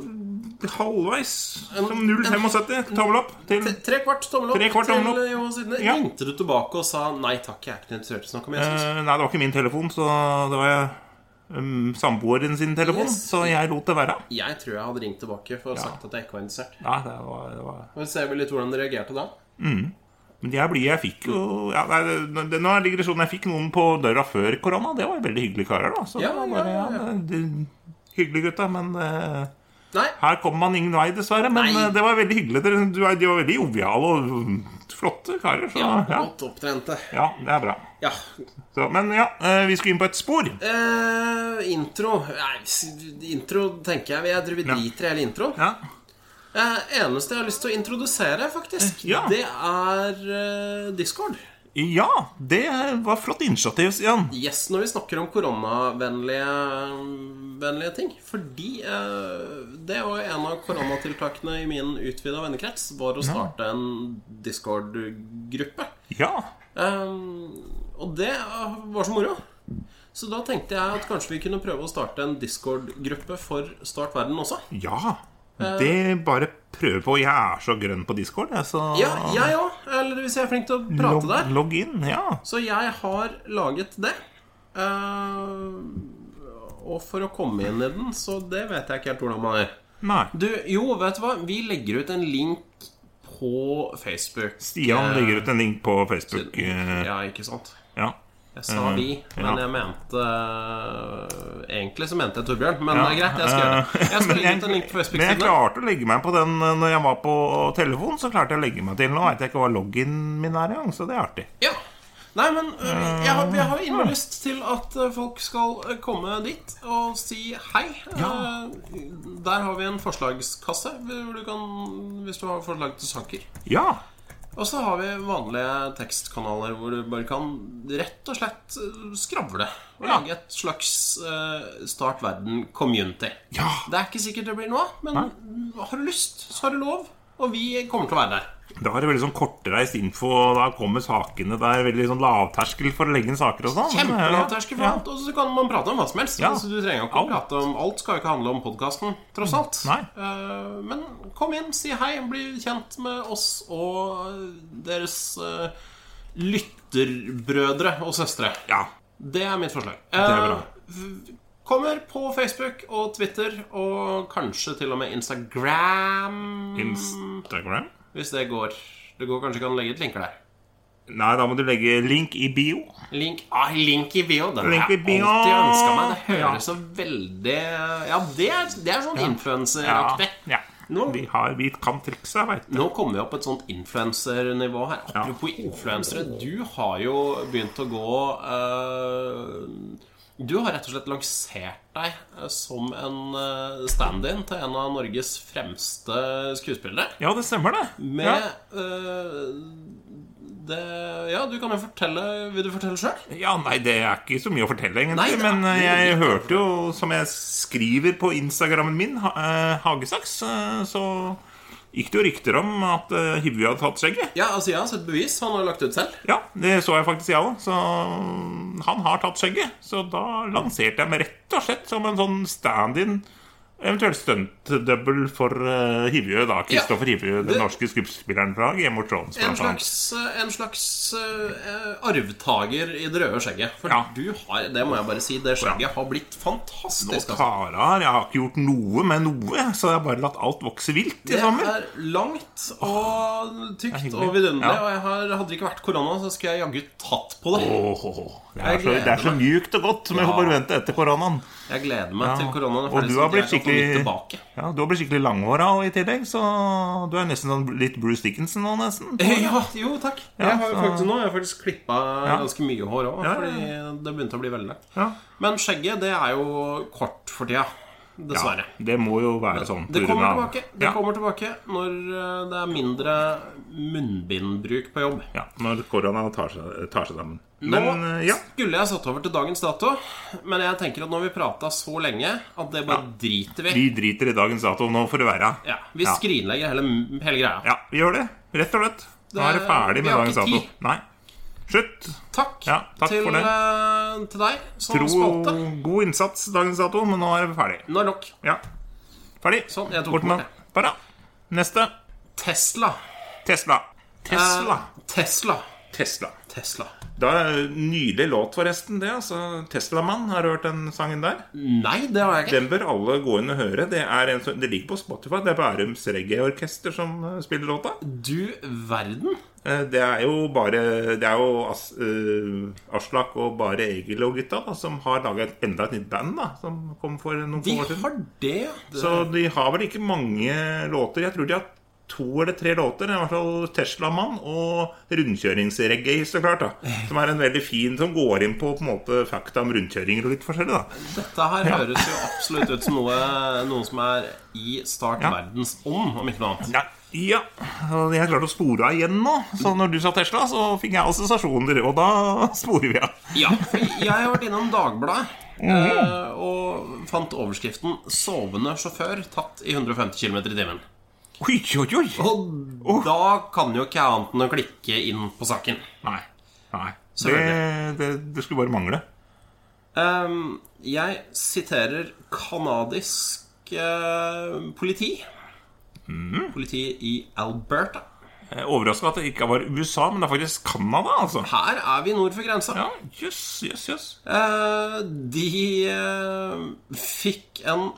Speaker 1: halvveis som 0,75 tommel opp til
Speaker 2: T- Tre kvart tommel opp
Speaker 1: Tre kvart tommel opp.
Speaker 2: til Jehovas vitner.
Speaker 1: Ja.
Speaker 2: Ringte du tilbake og sa 'nei takk, jeg er ikke interessert i å snakke om Jesus'?
Speaker 1: Eh, nei, det var ikke min telefon, så det var um, samboeren sin telefon.
Speaker 2: Yes.
Speaker 1: Så jeg lot det være.
Speaker 2: Jeg tror jeg hadde ringt tilbake for å sagt at jeg ikke var interessert.
Speaker 1: Nei, det var, det var.
Speaker 2: Og ser vi litt hvordan de reagerte da.
Speaker 1: Men jeg blir, jeg fikk jo ja, nei, det, det, Nå er digresjonen. Jeg fikk noen på døra før korona. Det var veldig hyggelige karer, da. Så
Speaker 2: Ja,
Speaker 1: det var
Speaker 2: ja,
Speaker 1: bare, ja,
Speaker 2: ja, ja.
Speaker 1: det, det, hyggelig, gutta. Men eh,
Speaker 2: Nei,
Speaker 1: her kommer man ingen vei, dessverre. Men
Speaker 2: Nei.
Speaker 1: eh, det var veldig hyggelig. Dere, du er- de var veldig joviale og mm, flotte karer. Så
Speaker 2: ja,
Speaker 1: Ah, ja,
Speaker 2: godt opptrente.
Speaker 1: ja det er bra.
Speaker 2: Ja.
Speaker 1: Så, men ja, eh, vi skulle inn på et spor.
Speaker 2: Eh, intro Nei, s- intro tenker jeg. Jeg tror vi driter i hele introen.
Speaker 1: Ja.
Speaker 2: Eh, eneste jeg har lyst til å introdusere, faktisk,
Speaker 1: Eh, Ja.
Speaker 2: det er eh, Discord.
Speaker 1: ja, det var flott initiativ, Stian.
Speaker 2: Yes, når vi snakker om koronavennlige vennlige ting. Fordi eh, det var jo en av koronatiltakene i min utvida vennekrets, var å starte en Discord-gruppe.
Speaker 1: Ja.
Speaker 2: Eh, og det eh, var så moro. Så da tenkte jeg at kanskje vi kunne prøve å starte en Discord-gruppe for Start verden også.
Speaker 1: Ja.
Speaker 2: Eh.
Speaker 1: Det bare prøve på. Jeg er så grønn på Discord, jeg, så
Speaker 2: Ja, jeg òg. Eller hvis jeg er flink til å
Speaker 1: logg,
Speaker 2: prate der.
Speaker 1: logg inn. Ja.
Speaker 2: Så jeg har laget det. Eh, og for å komme inn i den, så det vet jeg ikke helt hvordan man gjør.
Speaker 1: Nei.
Speaker 2: Du, jo, vet du hva? Vi legger ut en link på Facebook.
Speaker 1: Stian legger ut en link på Facebook. eh,
Speaker 2: Eh, Ja, ikke sant?
Speaker 1: Ja.
Speaker 2: Jeg sa vi, men
Speaker 1: Mhm. ja.
Speaker 2: jeg mente eh, Egentlig så mente jeg Torbjørn, men
Speaker 1: Ja,
Speaker 2: det er greit. Jeg skal gjøre det. Jeg skal
Speaker 1: Men
Speaker 2: legge ut en link på
Speaker 1: men jeg
Speaker 2: Facebook-siden.
Speaker 1: klarte å legge meg på den eh, Når jeg var på telefon. Så klarte jeg å legge meg til Nå veit jeg ikke hva loggen min er engang, så det er artig.
Speaker 2: Ja. Nei, men øh, jeg har, jeg har
Speaker 1: Mm.
Speaker 2: innmari lyst til at øh, folk skal øh, komme dit og si hei.
Speaker 1: Ja.
Speaker 2: Eh, Der har vi en forslagskasse hvor du kan, hvis du har forslag til saker.
Speaker 1: Ja.
Speaker 2: Og så har vi vanlige tekstkanaler hvor du bare kan rett og slett øh, skravle. Og
Speaker 1: Ja.
Speaker 2: lage et slags øh, Start verden-community.
Speaker 1: Ja.
Speaker 2: Det er ikke sikkert det blir noe av, men har du lyst, så har du lov. Og vi kommer til å være der.
Speaker 1: Da er det veldig sånn kortreist info, og da kommer sakene. Det er veldig sånn lavterskel for å legge inn saker og sånn.
Speaker 2: Kjempelavterskel for
Speaker 1: Ja.
Speaker 2: alt, og så kan man prate om hva som helst.
Speaker 1: Ja.
Speaker 2: Altså, du trenger jo ikke
Speaker 1: Alt.
Speaker 2: alt. prate om Alt skal jo ikke handle om podkasten, tross alt.
Speaker 1: Nei.
Speaker 2: Eh, men kom inn, si hei, bli kjent med oss og deres eh, lytterbrødre og -søstre.
Speaker 1: Ja.
Speaker 2: Det er mitt forslag.
Speaker 1: er bra.
Speaker 2: Eh, v- Kommer på Facebook og Twitter og kanskje til og med Instagram.
Speaker 1: Instagram?
Speaker 2: hvis det går. Det går kanskje ikke an å legge ut linker der.
Speaker 1: Nei, da må du legge link i bio.
Speaker 2: Link, ah, link i bio. Den
Speaker 1: Link
Speaker 2: har
Speaker 1: i
Speaker 2: jeg
Speaker 1: bio.
Speaker 2: alltid ønska meg. Det
Speaker 1: Ja.
Speaker 2: høres så veldig Ja, det er, det er sånn influenseraktig.
Speaker 1: Ja.
Speaker 2: Nå,
Speaker 1: Vi, har, vi kan triksa, veit du.
Speaker 2: nå kommer vi opp på et sånt influensernivå her. Apropos influensere, du har jo begynt å gå eh, Du har rett og slett lansert deg eh, som en eh, stand-in til en av Norges fremste skuespillere.
Speaker 1: Ja, det stemmer, det.
Speaker 2: Med
Speaker 1: ja.
Speaker 2: eh, det, Ja, du kan jo fortelle Vil du fortelle sjøl?
Speaker 1: Ja, nei, det er ikke så mye å fortelle,
Speaker 2: Nei,
Speaker 1: egentlig.
Speaker 2: det er-
Speaker 1: men eh, jeg hørte jo, som jeg skriver på Instagrammen min, ha- eh, Hagesaks, eh, så gikk det jo rykter om at eh, Hivju hadde tatt skjegget.
Speaker 2: Ja, altså, jeg har sett bevis. Han har jo lagt ut selv.
Speaker 1: Ja, det så jeg faktisk, jeg òg. Så han har tatt skjegget. Så da lanserte jeg meg rett og slett som en sånn stand-in. Eventuelt stunt-double for uh, Hivjø, da. Kristoffer Hivjø, den
Speaker 2: Det-
Speaker 1: norske skuespilleren fra Game of Thrones.
Speaker 2: En
Speaker 1: blant annet.
Speaker 2: slags, en slags eh, arvtaker i det røde skjegget. For
Speaker 1: Ja.
Speaker 2: du har, det må jeg bare si, det skjegget har blitt
Speaker 1: Og
Speaker 2: fantastisk. altså.
Speaker 1: Tara, jeg har ikke gjort noe med noe, så jeg har bare latt alt vokse vilt i
Speaker 2: Det
Speaker 1: sommer.
Speaker 2: er langt og tykt
Speaker 1: Ah, hyggelig.
Speaker 2: og vidunderlig.
Speaker 1: Ja.
Speaker 2: Og jeg har, hadde det ikke vært korona, så skulle jeg jaggu tatt på det.
Speaker 1: Åh, åh, åh. Det er,
Speaker 2: Jeg
Speaker 1: så, det
Speaker 2: gleder
Speaker 1: er så mjukt og godt som jeg
Speaker 2: Ja.
Speaker 1: får forvente etter koronaen.
Speaker 2: Jeg gleder meg til koronaen er
Speaker 1: Og
Speaker 2: ferdig.
Speaker 1: du
Speaker 2: så
Speaker 1: har
Speaker 2: at
Speaker 1: blitt
Speaker 2: jeg kan få litt
Speaker 1: skikkelig
Speaker 2: tilbake.
Speaker 1: Ja, du har blitt skikkelig langhåra og i tillegg, så du er nesten sånn litt Bruce Dickinson nå, nesten.
Speaker 2: Eh, Ja, jo, takk. jeg har jo
Speaker 1: så-
Speaker 2: faktisk, nå har jeg faktisk klippa ganske mye hår
Speaker 1: Ja,
Speaker 2: òg,
Speaker 1: ja, ja.
Speaker 2: fordi det begynte å bli veldig langt.
Speaker 1: Ja.
Speaker 2: Men skjegget, det er jo kort for tida. Dessverre.
Speaker 1: Det må jo være sånn.
Speaker 2: Det
Speaker 1: på grunn
Speaker 2: kommer
Speaker 1: av-
Speaker 2: tilbake, det
Speaker 1: ja.
Speaker 2: kommer tilbake når eh, det er mindre munnbindbruk på jobb.
Speaker 1: Ja, når korona tar seg, tar seg sammen.
Speaker 2: Nå
Speaker 1: Men eh, ja.
Speaker 2: skulle jeg satt over til dagens dato, men jeg tenker at nå har vi prata så lenge at det bare driter vi.
Speaker 1: Vi driter i dagens dato. Nå får det være.
Speaker 2: Ja, vi
Speaker 1: Ja.
Speaker 2: skrinlegger hele, hele greia.
Speaker 1: Ja, vi gjør det. Rett og slett. Nå er det
Speaker 2: Det-
Speaker 1: ferdig
Speaker 2: vi
Speaker 1: med
Speaker 2: har
Speaker 1: dagens
Speaker 2: ikke
Speaker 1: dato.
Speaker 2: tid.
Speaker 1: Nei. Slutt.
Speaker 2: Takk,
Speaker 1: Ja, takk
Speaker 2: til,
Speaker 1: for det.
Speaker 2: eh, til deg som
Speaker 1: Tro
Speaker 2: spalte.
Speaker 1: god innsats dagens dato, men nå er det ferdig.
Speaker 2: Nå er nok.
Speaker 1: Ja. Ferdig.
Speaker 2: Sånn, jeg tok
Speaker 1: Bort
Speaker 2: den
Speaker 1: med den.
Speaker 2: bort,
Speaker 1: Bare. Neste.
Speaker 2: Tesla.
Speaker 1: Tesla. Tesla.
Speaker 2: Eh, Tesla.
Speaker 1: Tesla.
Speaker 2: Tesla.
Speaker 1: Da er Nydelig låt, forresten. det, altså Teslamann. Har du hørt den sangen der?
Speaker 2: Nei, det har jeg ikke.
Speaker 1: Den bør alle gå inn og høre. Det, er en, som- det ligger på Spotify. Det er Bærums reggaeorkester som eh, spiller låta.
Speaker 2: Du verden.
Speaker 1: Eh, Det er jo bare Det er jo As, eh, Aslak og bare Egil og gutta da, som har laga enda et nytt band da som kom for noen
Speaker 2: De
Speaker 1: få år siden.
Speaker 2: har det. det.
Speaker 1: Så de har vel ikke mange låter. Jeg tror de har to eller tre låter. I hvert fall Teslamann og rundkjøringsreggae, så klart. da Som er en veldig fin som går inn på på en måte fakta om rundkjøringer og litt forskjellig. da
Speaker 2: Dette her høres jo absolutt ut som noe, noe som er i Start
Speaker 1: Ja.
Speaker 2: verdens ånd, om ikke noe annet.
Speaker 1: Ja, Mm. ja. og jeg klarte å spore av igjen nå. Så når du sa Tesla, så fikk jeg assosiasjoner, og da sporer vi av.
Speaker 2: Ja, for jeg har vært innom Dagbladet eh, og fant overskriften 'Sovende sjåfør tatt i 150 km i timen'.
Speaker 1: Oi, oi, oi.
Speaker 2: Og da kan jo ikke annet enn å klikke inn på saken.
Speaker 1: Nei. Nei. Det,
Speaker 2: Selvfølgelig.
Speaker 1: det, det skulle bare mangle.
Speaker 2: Ehm, jeg siterer kanadisk eh, politi. Politi i Alberta.
Speaker 1: Overraska at det ikke var USA, men det er faktisk Canada, altså.
Speaker 2: Her er vi nord for grensa.
Speaker 1: Ja, Jøss, jøss, jøss.
Speaker 2: Eh, de eh, fikk en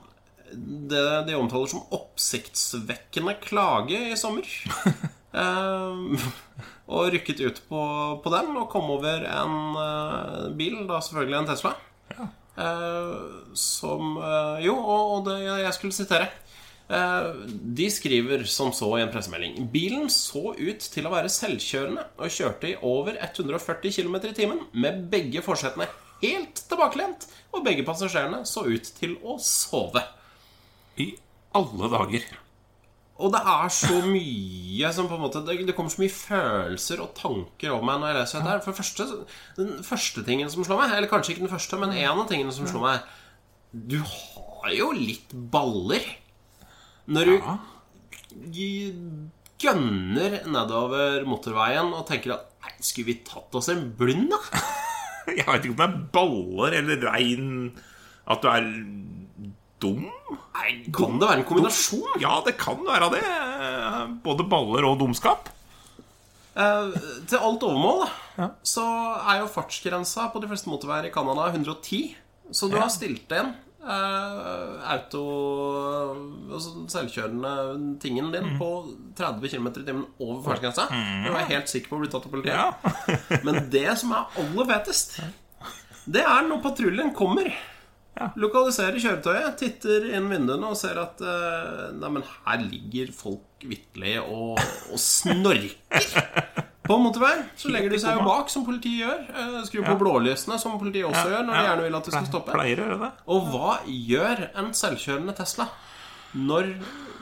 Speaker 2: det de omtaler som oppsiktsvekkende klage i sommer. Eh, og rykket ut på, på den og kom over en eh, bil, da selvfølgelig en Tesla, eh, som eh, Jo, og, og det jeg skulle sitere. Eh, De skriver som så i en pressemelding Bilen så ut til å være selvkjørende og kjørte i over 140 km i timen med begge forsetene helt tilbakelent, og begge passasjerene så ut til å sove.
Speaker 1: I alle dager.
Speaker 2: Og det er så mye som på en måte Det, det kommer så mye følelser og tanker over meg når jeg leser dette. her. For det første, den første tingen som slår meg, eller kanskje ikke den første, men en av tingene som slår meg, du har jo litt baller når du
Speaker 1: Ja.
Speaker 2: g- gønner nedover motorveien og tenker at Nei, skulle vi tatt oss en blund, da?
Speaker 1: Jeg vet ikke om det er baller eller regn At du er dum?
Speaker 2: Nei, kan det være en kombinasjon?
Speaker 1: Ja, det kan være det. Både baller og dumskap.
Speaker 2: Eh, til alt overmål da, så er jo fartsgrensa på de fleste motorveier i Canada 110. Så du har stilt inn eh, auto altså selvkjørende tingen din på 30 km i timen over fartsgrensa. Du er helt sikker på å bli tatt av politiet.
Speaker 1: Ja.
Speaker 2: Men det som er aller fetest, det er når patruljen kommer. Lokaliserer kjøretøyet, titter inn vinduene og ser at eh, Nei, men her ligger folk vitterlig og, og snorker på motorveien. Så legger de seg jo bak, som politiet gjør. eh, Skrur på blålysene, som politiet også gjør når de gjerne vil at du skal stoppe.
Speaker 1: Pleier å gjøre det.
Speaker 2: Og hva gjør en selvkjørende Tesla når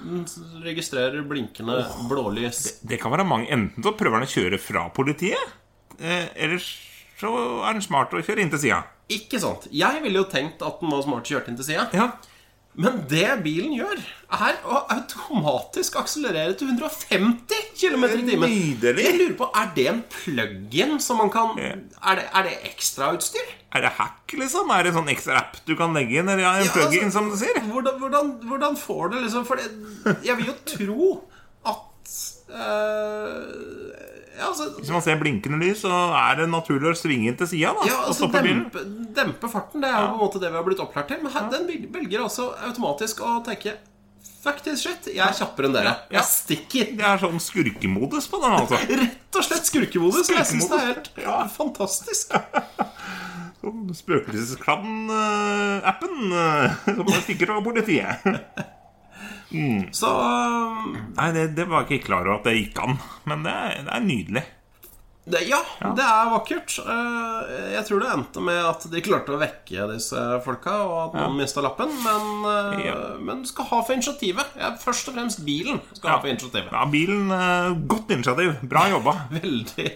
Speaker 2: den registrerer blinkende blålys?
Speaker 1: Det kan være mange. Enten så prøver han å kjøre fra politiet, eh, eller så er han smart og kjører inn til sida.
Speaker 2: Ikke sant? Jeg ville jo tenkt at den var smart kjørt inn til sida.
Speaker 1: Ja.
Speaker 2: Men det bilen gjør, er å automatisk akselerere til 150 km i timen.
Speaker 1: Nydelig.
Speaker 2: Jeg lurer på, Er det en plug-in som man kan
Speaker 1: Ja.
Speaker 2: Er det, er det ekstrautstyr?
Speaker 1: Er det hack, liksom? Er det en sånn ekstra app du kan legge inn? Eller ja, en
Speaker 2: Ja,
Speaker 1: plug-in,
Speaker 2: altså,
Speaker 1: som du sier?
Speaker 2: Hvordan, hvordan, hvordan får du liksom For det, jeg vil jo tro at eh, ja, altså,
Speaker 1: Hvis man ser blinkende lys, så er det naturlig å svinge inn til sida. da,
Speaker 2: ja,
Speaker 1: og
Speaker 2: altså
Speaker 1: stoppe bilen.
Speaker 2: dempe, dempe farten. Det er jo på en måte det vi har blitt opplært til. Men her, den vel- velger altså automatisk å tenke Fuck this shit, jeg er kjappere enn dere.
Speaker 1: Ja.
Speaker 2: Jeg stikker.
Speaker 1: Det er sånn skurkemodus på den, altså.
Speaker 2: Rett og slett skurkemodus. og Jeg syns det er helt
Speaker 1: Skurkemodus, ja.
Speaker 2: fantastisk.
Speaker 1: Sånn Spøkelseskladden-appen eh, som bare stikker fra politiet.
Speaker 2: Så um,
Speaker 1: Nei, det, det var jeg ikke klar over at det gikk an. Men det er, det er nydelig.
Speaker 2: det, ja, det er vakkert. Eh, Jeg tror det endte med at de klarte å vekke disse folka, og at noen mista lappen. Men, eh,
Speaker 1: Ja.
Speaker 2: men skal ha for initiativet. Ja, først og fremst bilen skal ha for initiativet.
Speaker 1: Ja, bilen eh, Godt initiativ. Bra jobba.
Speaker 2: Veldig,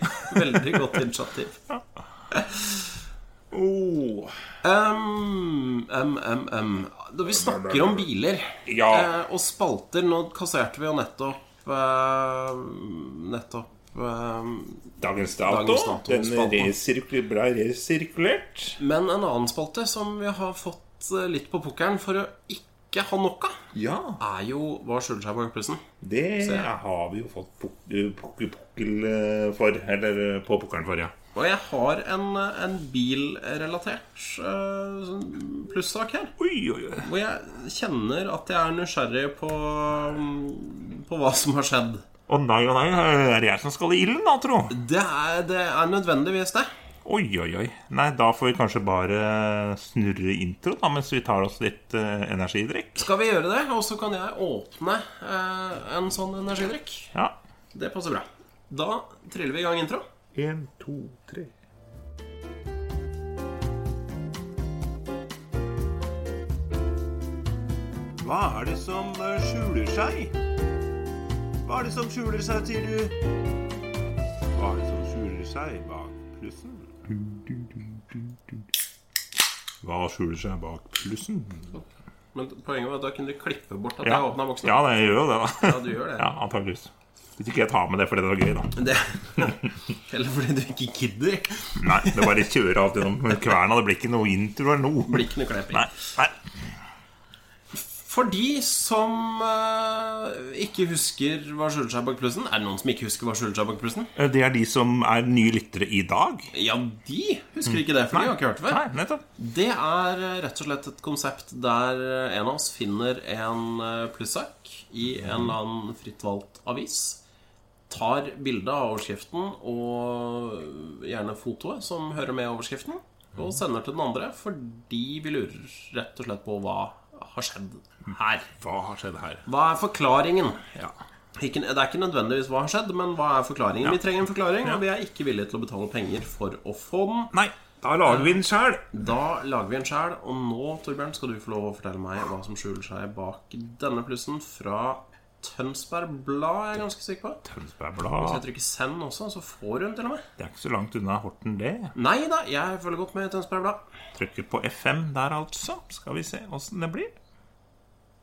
Speaker 2: veldig godt initiativ.
Speaker 1: Oh.
Speaker 2: Um, um, um, um. Da vi snakker om biler
Speaker 1: Ja.
Speaker 2: eh, og spalter Nå kasserte vi jo nettopp eh, Nettopp eh,
Speaker 1: Dagens dato.
Speaker 2: Dagens dato,
Speaker 1: den
Speaker 2: spalten.
Speaker 1: resirkul- ble resirkulert.
Speaker 2: Men en annen spalte som vi har fått eh, litt på pukkelen for å ikke ha nok av,
Speaker 1: Ja,
Speaker 2: er jo Hva skylder seg bak plussen?
Speaker 1: det har vi jo fått puk- puk- pukkel eh, for. Eller eh, på pukkelen for, ja.
Speaker 2: Og jeg har en, eh, en bilrelatert eh, sånn plussak her.
Speaker 1: Oi, oi, oi.
Speaker 2: Hvor jeg kjenner at jeg er nysgjerrig på, mm, på hva som har skjedd.
Speaker 1: Å nei, å nei, er det jeg som skal i ilden, da, tro?
Speaker 2: Det er, det er nødvendigvis det.
Speaker 1: Oi, oi, oi. Nei, da får vi kanskje bare snurre intro, da, mens vi tar oss litt eh, energidrikk.
Speaker 2: Skal vi gjøre det? Og så kan jeg åpne eh, en sånn energidrikk.
Speaker 1: Ja.
Speaker 2: Det passer bra. Da triller vi i gang intro.
Speaker 1: Én, to, tre.
Speaker 4: Hva er det som eh, skjuler seg? Hva er det som skjuler seg, sier du? Hva er det som skjuler seg bak plussen?
Speaker 1: Hva skjuler seg bak plussen?
Speaker 2: Men poenget var at da kunne du klippe bort at
Speaker 1: Ja,
Speaker 2: jeg åpna boksen.
Speaker 1: ja det gjør jo det, da.
Speaker 2: Ja, du gjør det.
Speaker 1: Ja, antageligvis. Hvis ikke jeg tar med det fordi det var gøy, da.
Speaker 2: det. Eller fordi du ikke gidder.
Speaker 1: Nei, det er bare kjører alt gjennom kverna. Det blir ikke noe intro eller noe.
Speaker 2: Blikkene kleper.
Speaker 1: Nei, nei.
Speaker 2: For de som eh, ikke husker hva skjuler seg bak plussen Er det noen som ikke husker hva skjuler seg bak plussen?
Speaker 1: Eh, Det er de som er nye lyttere i dag.
Speaker 2: Ja, de husker ikke det, for de har ikke hørt det før.
Speaker 1: Mm. Nei, nettopp.
Speaker 2: Det er eh, rett og slett et konsept der eh, en av oss finner en eh, plussak i en eller annen fritt valgt avis, tar bilde av overskriften og eh, gjerne fotoet som hører med overskriften, og sender til den andre fordi vi lurer rett og slett på hva har skjedd her.
Speaker 1: Hva har skjedd her?
Speaker 2: Hva er forklaringen?
Speaker 1: Ja.
Speaker 2: Ikke, det er ikke nødvendigvis hva har skjedd, men hva er forklaringen? Vi trenger en forklaring, og vi er ikke villige til å betale penger for å få den.
Speaker 1: Nei, da lager vi den sjæl.
Speaker 2: Da lager vi en sjel, og nå Torbjørn, skal du få lov å fortelle meg hva som skjuler seg bak denne plussen fra Tønsberg Blad, jeg er ganske sikker på.
Speaker 1: Tønsberg
Speaker 2: Hvis
Speaker 1: Blad.
Speaker 2: jeg trykker 'send' også, så får hun til og med.
Speaker 1: Det er ikke så langt unna Horten, det.
Speaker 2: Nei da, jeg følger godt med i Tønsberg Blad.
Speaker 1: Trykker på F5 der, altså. Skal vi se åssen det blir.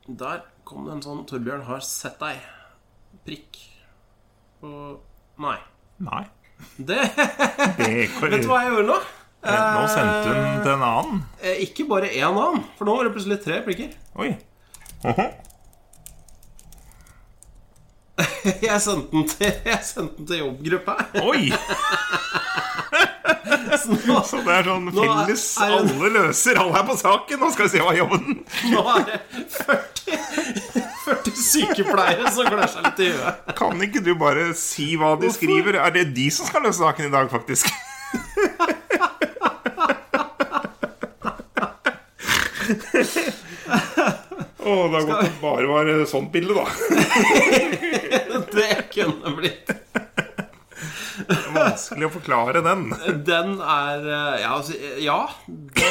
Speaker 2: Der kom det en sånn 'Torbjørn har sett deg'. Prikk. Og Nei.
Speaker 1: Nei.
Speaker 2: Det
Speaker 1: Det går
Speaker 2: Vet du hva jeg gjorde nå?
Speaker 1: Nå sendte hun til en annen.
Speaker 2: Eh, Ikke bare én annen, for nå var det plutselig tre prikker.
Speaker 1: Oi. Oho.
Speaker 2: Jeg sendte den til, jeg sendte den til jobbgruppa.
Speaker 1: Oi!
Speaker 2: Så nå,
Speaker 1: Så det er sånn
Speaker 2: Nå er-
Speaker 1: felles.
Speaker 2: er hun-
Speaker 1: Alle løser. Alle er på saken. Nå skal vi se hva jobben
Speaker 2: Nå er det 40, 40 sykepleiere som klør seg litt i huet.
Speaker 1: Kan ikke du bare si hva de skriver? Er det de som skal løse saken i dag, faktisk? Å, det er godt det bare var eh, sånt bilde, da.
Speaker 2: Det kunne blitt
Speaker 1: Vanskelig å forklare den.
Speaker 2: Den er eh, Ja, altså, ja det,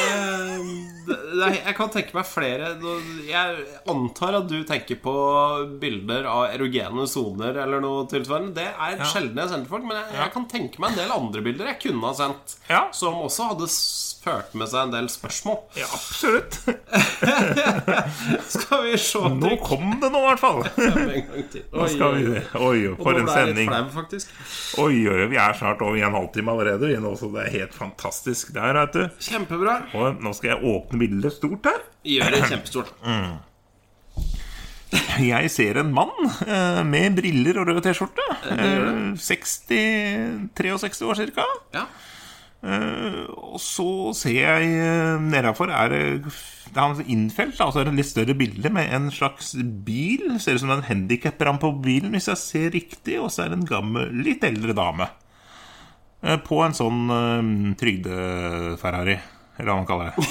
Speaker 2: det, det- Jeg kan tenke meg flere Nå- Jeg antar at du tenker på bilder av erogene soner eller noe tilsvarende. Det er sjelden jeg sender til folk, men jeg, jeg kan tenke meg en del andre bilder jeg kunne ha sendt,
Speaker 1: Ja.
Speaker 2: som også hadde s- ført med seg en del spørsmål.
Speaker 1: Ja, absolutt.
Speaker 2: Skal vi se
Speaker 1: Nå kom det nå, i hvert fall.
Speaker 2: en gang til. Oi,
Speaker 1: Skal vi det? Oi, oi, for en sending.
Speaker 2: Flau, faktisk.
Speaker 1: Oi, oi, oi, vi er snart over i en halvtime allerede. Vi nå, så det er helt fantastisk der, vet du.
Speaker 2: Kjempebra.
Speaker 1: Og nå skal jeg åpne bildet stort her.
Speaker 2: Gjør det kjempestort.
Speaker 1: Mm. Jeg ser en mann eh, med briller og rød T-skjorte. Eh, 60 63 år cirka.
Speaker 2: Ja.
Speaker 1: Eh, og så ser jeg eh, nedafor er det det er han innfelt, da, og så er det litt større bilde med en slags bil. Ser ut som det er en handikaprampe på bilen, hvis jeg ser riktig. Og så er det en gammel, litt eldre dame eh, på en sånn eh, trygde-Ferrari, eller hva man kaller det.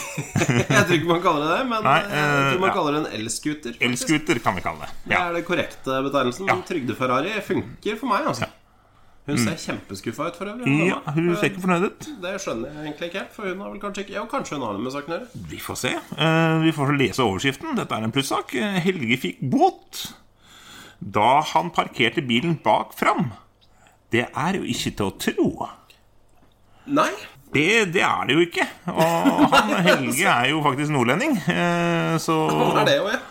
Speaker 2: Jeg tror ikke man kaller det det, men
Speaker 1: Nei,
Speaker 2: eh, jeg
Speaker 1: eh,
Speaker 2: tror
Speaker 1: ja.
Speaker 2: man kaller det en elskuter. faktisk.
Speaker 1: Elscooter kan vi kalle det.
Speaker 2: Det er det korrekte betegnelsen. Men Trygde-Ferrari funker for meg. altså Hun ser kjempeskuffa ut for øvrig. hun
Speaker 1: Mm. ja,
Speaker 2: dama. Eh,
Speaker 1: hun ser ikke fornøyd ut.
Speaker 2: Det skjønner jeg egentlig ikke helt. For hun har vel kanskje ikke Jo, kanskje hun har det med saken å gjøre.
Speaker 1: Vi får se. Eh, vi får lese overskriften. Dette er en plussak. Eh, Helge fikk bot da han parkerte bilen bak fram. Det er jo ikke til å tro.
Speaker 2: Nei.
Speaker 1: Det, det er det jo ikke. Og han Helge er jo faktisk nordlending, eh,
Speaker 2: Hva er det
Speaker 1: så
Speaker 2: jo, ja?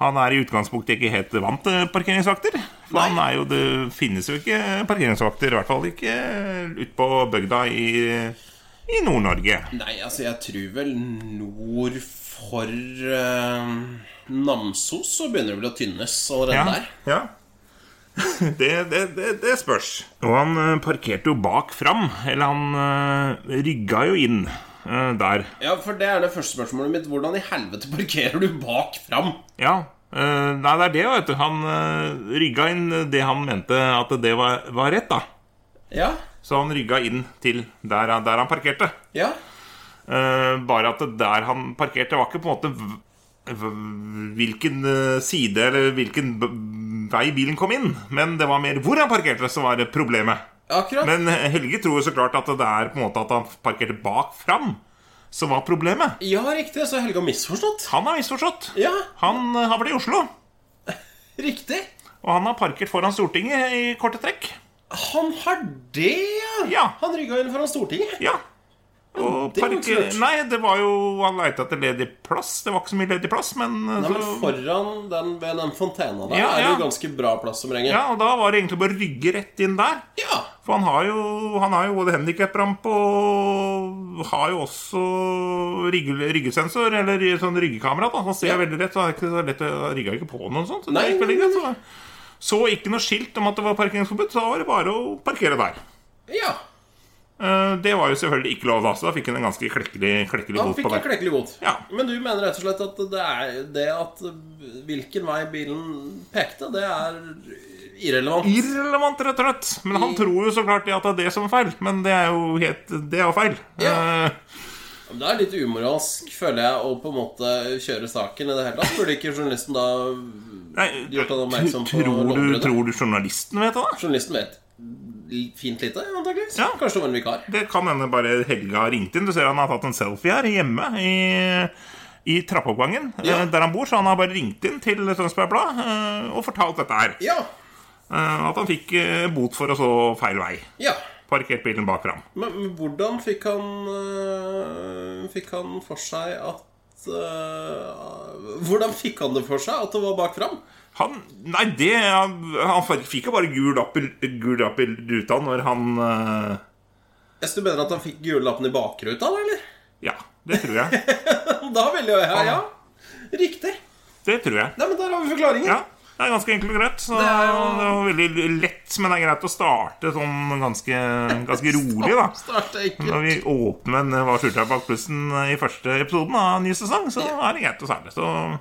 Speaker 1: han er i utgangspunktet ikke helt vant til parkeringsvakter. For han er jo, det finnes jo ikke parkeringsvakter, i hvert fall ikke ute på bygda i, i Nord-Norge.
Speaker 2: Nei, altså, jeg tror vel nord for eh, Namsos så begynner det vel å tynnes allerede
Speaker 1: Ja,
Speaker 2: der.
Speaker 1: ja. Det, det, det, det spørs. Og han eh, parkerte jo bak fram. Eller han eh, rygga jo inn eh, der.
Speaker 2: Ja, for det er det første spørsmålet mitt. Hvordan i helvete parkerer du bak fram?
Speaker 1: Ja. eh, nei, det er det, vet du. Han eh, rygga inn det han mente at det var, var rett, da.
Speaker 2: Ja.
Speaker 1: Så han rygga inn til der, han- der han parkerte.
Speaker 2: Ja.
Speaker 1: Eh, bare at det der han parkerte, var ikke på en måte v- v- hvilken eh, side eller hvilken b- vei bilen kom inn. Men det var mer hvor han parkerte, som var problemet.
Speaker 2: Akkurat.
Speaker 1: Men eh, Helge tror jo så klart at det er på en måte at han parkerte bak fram som var problemet.
Speaker 2: Ja, riktig. Så Helge har misforstått.
Speaker 1: Han har misforstått.
Speaker 2: Ja,
Speaker 1: Han eh, har vært i Oslo,
Speaker 2: riktig.
Speaker 1: og han har parkert foran Stortinget i korte trekk.
Speaker 2: Han har det, ja!
Speaker 1: Ja.
Speaker 2: Han rygga inn foran Stortinget.
Speaker 1: Ja. Og
Speaker 2: det var ikke
Speaker 1: parker...
Speaker 2: lurt.
Speaker 1: Nei, det var jo Han leita etter ledig plass. Det var ikke så mye ledig plass, men, eh,
Speaker 2: Nei, men
Speaker 1: så-
Speaker 2: foran den, ved den fontena der
Speaker 1: Ja,
Speaker 2: er det
Speaker 1: ja.
Speaker 2: jo ganske bra plass som regel.
Speaker 1: Ja, og da var det egentlig bare å rygge rett inn der.
Speaker 2: Ja.
Speaker 1: For han har jo, han har jo både handikaprampe og har jo også rygge, ryggesensor, eller sånn ryggekamera. da Han ser
Speaker 2: Ja.
Speaker 1: veldig rett, så han er ikke så lett å- han rygga ikke på noen sånt. Så, det
Speaker 2: Nei,
Speaker 1: gikk veldig
Speaker 2: nei,
Speaker 1: greit, så. så ikke noe skilt om at det var parkeringsforbud, så da var det bare å parkere der.
Speaker 2: ja.
Speaker 1: Eh, Det var jo selvfølgelig ikke lov, da, så da fikk han en ganske klekkelig, klekkelig
Speaker 2: Han
Speaker 1: bot
Speaker 2: fikk
Speaker 1: på
Speaker 2: en
Speaker 1: det.
Speaker 2: klekkelig bot.
Speaker 1: Ja.
Speaker 2: Men du mener rett og slett at det er det at hvilken vei bilen pekte, det er irrelevant?
Speaker 1: Irrelevant, rett og slett. Men han tror jo så klart det at det er det som er feil. Men det er jo helt, det er jo feil.
Speaker 2: Ja.
Speaker 1: Eh,
Speaker 2: Det er litt umoralsk, føler jeg, å på en måte kjøre saken i det hele tatt. Burde ikke journalisten da
Speaker 1: Nei,
Speaker 2: Gjort han oppmerksom
Speaker 1: tror,
Speaker 2: på
Speaker 1: du,
Speaker 2: lovbruddet?
Speaker 1: tror du journalisten vet det? da?
Speaker 2: Journalisten vet fint lite, antakeligvis.
Speaker 1: Ja.
Speaker 2: Kanskje det var en vikar.
Speaker 1: Det kan hende bare Helge har ringt inn. Du ser han har tatt en selfie her hjemme i, i trappeoppgangen
Speaker 2: Ja.
Speaker 1: eh, der han bor. Så han har bare ringt inn til Tønsberg Blad eh, og fortalt dette her.
Speaker 2: Ja.
Speaker 1: Eh, At han fikk eh, bot for å så feil vei.
Speaker 2: Ja.
Speaker 1: Parkert bilen bak fram.
Speaker 2: Men, men hvordan fikk han øh, Fikk han for seg at øh, Hvordan fikk han det for seg at det var bak fram?
Speaker 1: Han, nei, det Han, han fikk jo bare gul lapp i- gul lapp i ruta når han eh,
Speaker 2: Jeg skulle mener at han fikk gule lappen i bakruta, da, eller?
Speaker 1: Ja, det tror jeg.
Speaker 2: Da ville jo jeg Ja, riktig.
Speaker 1: Det tror jeg.
Speaker 2: Nei, men der har vi forklaringen.
Speaker 1: Ja, det er ganske enkelt og greit. Så
Speaker 2: Det
Speaker 1: det
Speaker 2: er
Speaker 1: er,
Speaker 2: jo-
Speaker 1: veldig lett, men det er greit å starte sånn ganske, ganske rolig, da.
Speaker 2: Starte
Speaker 1: Når
Speaker 2: enkelt.
Speaker 1: vi åpner en Hva skjulte jeg bak plussen i første episoden av ny sesong, så er det greit å særlig. Så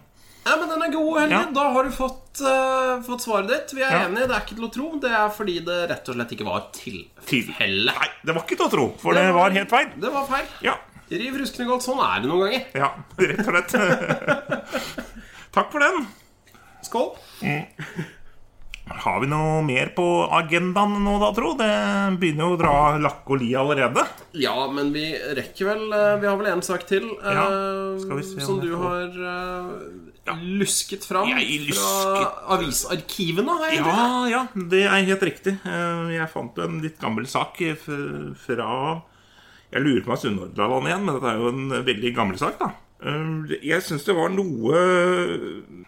Speaker 2: Nei, men den er god, Helge.
Speaker 1: Ja.
Speaker 2: Da har du fått, øh, fått svaret ditt. Vi er
Speaker 1: Ja.
Speaker 2: enige, det er ikke til å tro. Det er fordi det rett og slett ikke var tilfelle.
Speaker 1: Til- Nei, det var ikke til å tro, for det var helt feil.
Speaker 2: Det var feil.
Speaker 1: Ja.
Speaker 2: Riv ruskende godt. Sånn er det noen ganger.
Speaker 1: Ja, rett og slett. Takk for den.
Speaker 2: Skål.
Speaker 1: Har vi noe mer på agendaen nå, da, tro? Det begynner jo å dra lakke og li allerede.
Speaker 2: Ja, men vi rekker vel eh, Vi har vel en sak til eh,
Speaker 1: Ja, skal vi se om
Speaker 2: som
Speaker 1: jeg
Speaker 2: du
Speaker 1: får-
Speaker 2: har eh, lusket fram
Speaker 1: Jeg
Speaker 2: fra
Speaker 1: lusket-
Speaker 2: avisarkivene. Har jeg
Speaker 1: Ja, ja, det er helt riktig. Eh, Jeg fant jo en litt gammel sak f- fra Jeg lurer på om det er Sunnhordland igjen, men dette er jo en veldig gammel sak, da. Eh, Jeg syns det var noe eh,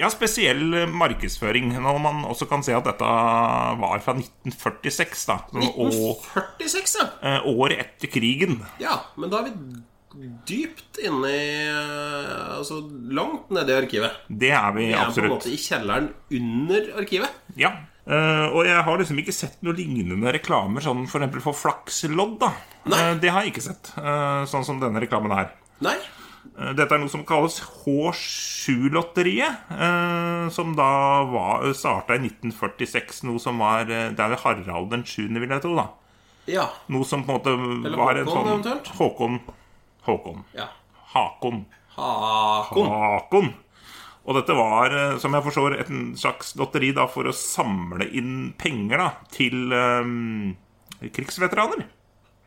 Speaker 1: Ja, spesiell markedsføring. Når man også kan se at dette var fra 1946, da. Sånn, å-
Speaker 2: 1946, ja.
Speaker 1: eh, år etter krigen.
Speaker 2: Ja, men da er vi dypt inne i eh, Altså langt nede i arkivet.
Speaker 1: Det er vi
Speaker 2: Vi er på en
Speaker 1: absolutt.
Speaker 2: måte i kjelleren under arkivet.
Speaker 1: Ja. Eh, og jeg har liksom ikke sett noe lignende reklamer sånn for eksempel for flakslodd. da
Speaker 2: Nei.
Speaker 1: Eh, Det har jeg ikke sett, eh, sånn som denne reklamen her.
Speaker 2: Nei.
Speaker 1: Eh, Dette er noe som kalles H7-lotteriet, eh, som da var- starta i 1946. Noe som var eh, Det er vel Harald den 7., vil jeg tro. da
Speaker 2: Ja.
Speaker 1: Noe som på en måte
Speaker 2: Eller
Speaker 1: var en
Speaker 2: Håkon,
Speaker 1: sånn
Speaker 2: eventuelt?
Speaker 1: Håkon Håkon.
Speaker 2: ja.
Speaker 1: Hakon.
Speaker 2: Hakon.
Speaker 1: Hakon. Og dette var, eh, som jeg forstår, et en slags lotteri da, for å samle inn penger da, til eh, krigsveteraner.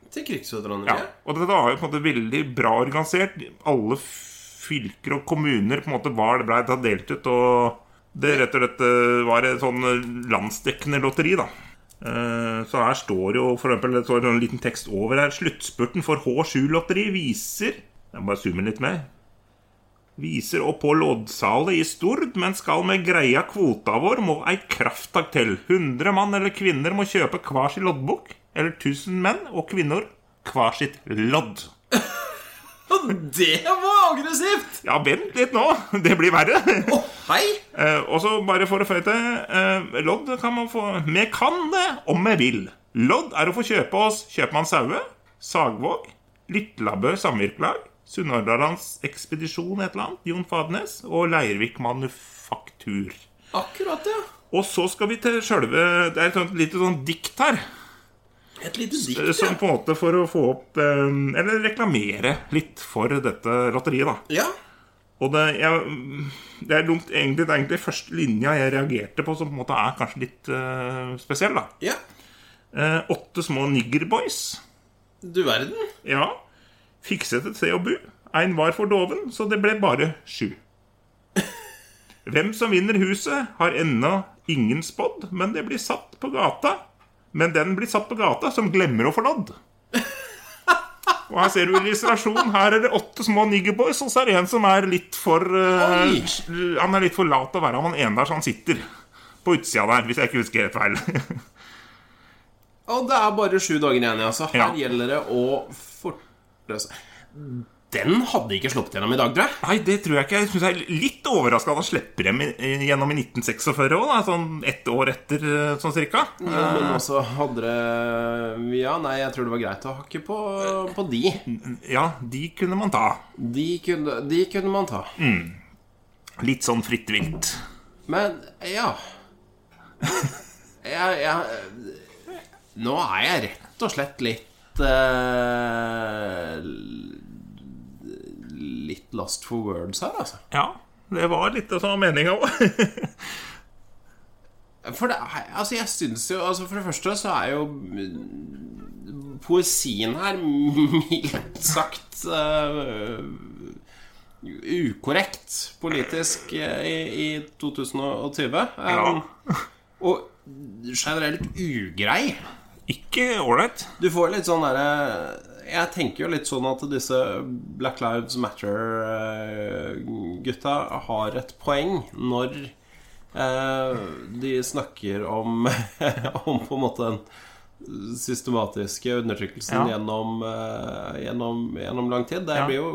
Speaker 2: Til krigsveteraner.
Speaker 1: Ja.
Speaker 2: Ja.
Speaker 1: Og dette var jo på en måte veldig bra organisert. Alle fylker og kommuner på en måte var det blei delt ut, og det rett og slett eh, var et sånn eh, landsdekkende lotteri, da. Eh, Så her står jo for eksempel, det står en liten tekst over her. Sluttspurten for H7-lotteri viser Jeg må bare zoome inn litt mer. Viser opp på loddsalet i Stord, men skal med greia kvota vår må ei krafttak til. 100 mann eller kvinner må kjøpe hver sin loddbok, eller 1000 menn og kvinner hver sitt lodd.
Speaker 2: Og det var aggressivt!
Speaker 1: Ja, vent litt nå! Det blir verre.
Speaker 2: Å, hei!
Speaker 1: Eh, og så bare for å føye til eh, Lodd kan man få Vi kan det om vi vil. Lodd er å få kjøpe oss Kjøpmann Saue, Sagvåg, Litlabø samvirkelag, Sunnhordlands ekspedisjon et eller annet, Jon Fadnes og Leirvik Manufaktur.
Speaker 2: Akkurat, ja.
Speaker 1: Og så skal vi til sjølve Det er et sånt lite sånn dikt her.
Speaker 2: Et lite
Speaker 1: eh,
Speaker 2: dikt,
Speaker 1: Som
Speaker 2: ja.
Speaker 1: på en måte for å få opp eh, Eller reklamere litt for dette lotteriet, da.
Speaker 2: ja.
Speaker 1: Og det, jeg, det er dumt, egentlig, det er egentlig første linja jeg reagerte på, som på en måte er kanskje litt eh, spesiell. da.
Speaker 2: Ja.
Speaker 1: Eh, åtte små niggerboys.
Speaker 2: Du verden.
Speaker 1: Ja. Fikset et sted å bo. Ein var for doven, så det ble bare sju. Hvem som vinner huset, har ennå ingen spådd, men det blir satt på gata. Men den blir satt på gata, som glemmer å få lodd. Og her ser du illustrasjon. Her er det åtte små niggerboys, og så er det en som er litt for eh,
Speaker 2: Oi!
Speaker 1: Han er litt for lat til å være han ene der, så han sitter på utsida der, hvis jeg ikke husker helt feil.
Speaker 2: Og det er bare sju dager igjen, ja. Så her
Speaker 1: Ja.
Speaker 2: gjelder det å forte seg. Den hadde ikke sluppet gjennom i dag, tror jeg.
Speaker 1: Nei, det tror jeg ikke. Jeg synes jeg er litt overraska at han slipper dem i- gjennom i 1946 òg, sånn ett år etter, sånn cirka.
Speaker 2: Ja, men også hadde det Ja, nei, jeg tror det var greit å hakke på, på de.
Speaker 1: Ja, de kunne man ta.
Speaker 2: De kunne, de kunne man ta.
Speaker 1: Litt sånn fritt vilt.
Speaker 2: Men ja jeg, jeg, Nå er jeg rett og slett litt eh, Litt lost for words her, altså.
Speaker 1: Ja, det var litt av sånn meninga òg.
Speaker 2: For det er, altså jeg synes jo altså For det første så er jo mm, poesien her mildt sagt eh, ukorrekt politisk eh, i, i 2020. eh,
Speaker 1: Ja.
Speaker 2: Og generelt ugrei.
Speaker 1: Ikke ålreit.
Speaker 2: Du får litt sånn derre Jeg tenker jo litt sånn at disse Black Lives Matter-gutta har et poeng når eh, de snakker om, om på en måte den systematiske undertrykkelsen
Speaker 1: Ja.
Speaker 2: gjennom, eh, gjennom, gjennom lang tid. Det
Speaker 1: Ja.
Speaker 2: blir jo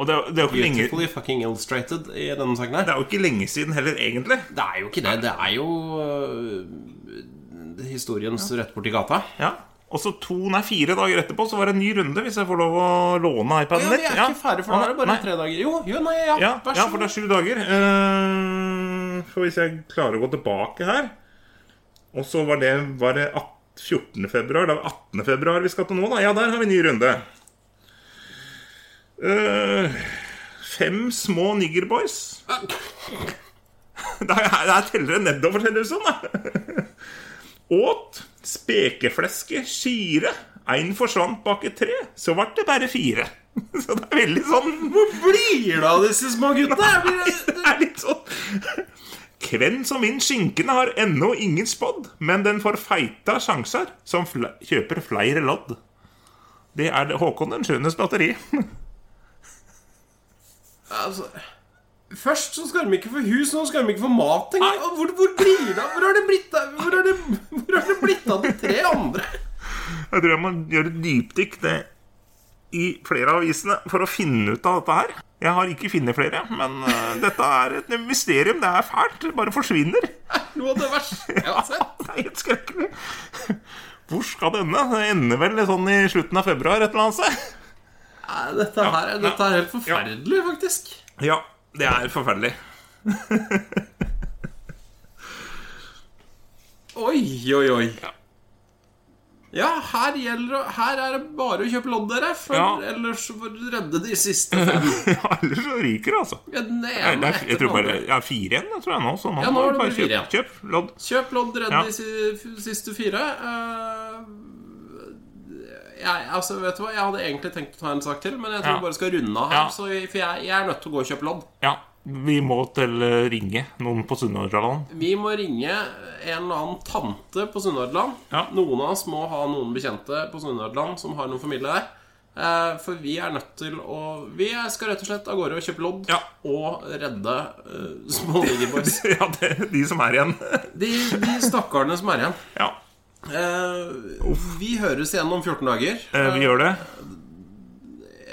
Speaker 1: Og det er, det, er jo ikke lenge,
Speaker 2: beautifully fucking illustrated i denne saken her.
Speaker 1: det er jo ikke lenge siden heller, egentlig.
Speaker 2: Det er jo ikke det. Det er jo øh, historiens rett borti gata.
Speaker 1: Ja. Og så to, nei, fire dager etterpå så var det en ny runde, hvis jeg får lov å låne
Speaker 2: Å ja,
Speaker 1: iPaden Ah,
Speaker 2: vi
Speaker 1: litt.
Speaker 2: er ikke ferdig, for nå er det bare tre dager. Jo, jo, nei, ja.
Speaker 1: Ja,
Speaker 2: Vær
Speaker 1: ja,
Speaker 2: så
Speaker 1: for det
Speaker 2: god.
Speaker 1: er sju dager. Eh, for hvis jeg klarer å gå tilbake her Og så var det, var det at- 14. februar. Det er 18. februar vi skal til nå, da. Ja, der har vi ny runde. eh, fem små niggerboys. Det er, det er tellere nedover, ser det ut som. da. Åt spekefleske skire. Én forsvant bak et tre, så ble det bare fire. Så det er veldig sånn
Speaker 2: Blir det av disse små gutta? Jeg blir-
Speaker 1: det er litt sånn Kven som vinner skinkene har ennå ingen spådd, men den får feita sjanser som fl kjøper flere lodd. Det er det Håkon den skjønnes lotteri.
Speaker 2: Altså, først så skal de ikke få hus, nå skal de ikke få mat engang. Og Hvor, hvor blir det av? Hvor har det blitt av Hvor har det, hvor har det blitt av de tre andre?
Speaker 1: Jeg tror jeg må gjøre et dypdykk det i flere av avisene for å finne ut av dette her. Jeg har ikke funnet flere, men eh, dette er et mysterium. Det er fælt. Det bare forsvinner.
Speaker 2: Noe av det verste jeg har sett.
Speaker 1: Det er helt skrekkelig. Hvor skal det ende? Det ender vel sånn i slutten av februar et eller annet sted.
Speaker 2: Nei, dette, her, er- dette er helt forferdelig, faktisk.
Speaker 1: Ja, det er forferdelig.
Speaker 2: Oi, oi, oi. Ja, her, gjelder, det- her er det bare å kjøpe lodd, dere. For
Speaker 1: Ja.
Speaker 2: ellers får du redde de siste fem.
Speaker 1: Ja, ellers så ryker det, altså.
Speaker 2: Den
Speaker 1: Nei,
Speaker 2: ene
Speaker 1: det er, jeg
Speaker 2: etter
Speaker 1: tror
Speaker 2: den
Speaker 1: bare
Speaker 2: andre.
Speaker 1: ja, fire igjen, jeg tror jeg nå. Så nå,
Speaker 2: Ja, nå
Speaker 1: må
Speaker 2: er
Speaker 1: du
Speaker 2: det
Speaker 1: bare
Speaker 2: fire
Speaker 1: kjøpe, kjøp lodd.
Speaker 2: Kjøp lodd, redd
Speaker 1: Ja.
Speaker 2: de si- f- siste fire. Eh, jeg, altså, vet du hva? jeg hadde egentlig tenkt å ta en sak til, men jeg tror
Speaker 1: Ja.
Speaker 2: vi bare skal runde av her.
Speaker 1: Ja.
Speaker 2: Så jeg, for jeg, jeg er nødt til å gå og kjøpe lodd.
Speaker 1: Ja, vi må til eh, ringe noen på Sunnmørsdalen.
Speaker 2: Vi må ringe en eller annen tante på Sunnhordland.
Speaker 1: Ja.
Speaker 2: Noen av oss må ha noen bekjente på Sunnhordland som har noen familie der. Eh, for vi er nødt til å Vi skal rett og slett av gårde og kjøpe lodd
Speaker 1: Ja.
Speaker 2: og redde eh, små niggerboys.
Speaker 1: Ja, det, de som er igjen.
Speaker 2: De, de stakkarene som er igjen.
Speaker 1: Ja,
Speaker 2: Eh, vi høres igjen om 14 dager.
Speaker 1: eh, vi gjør det.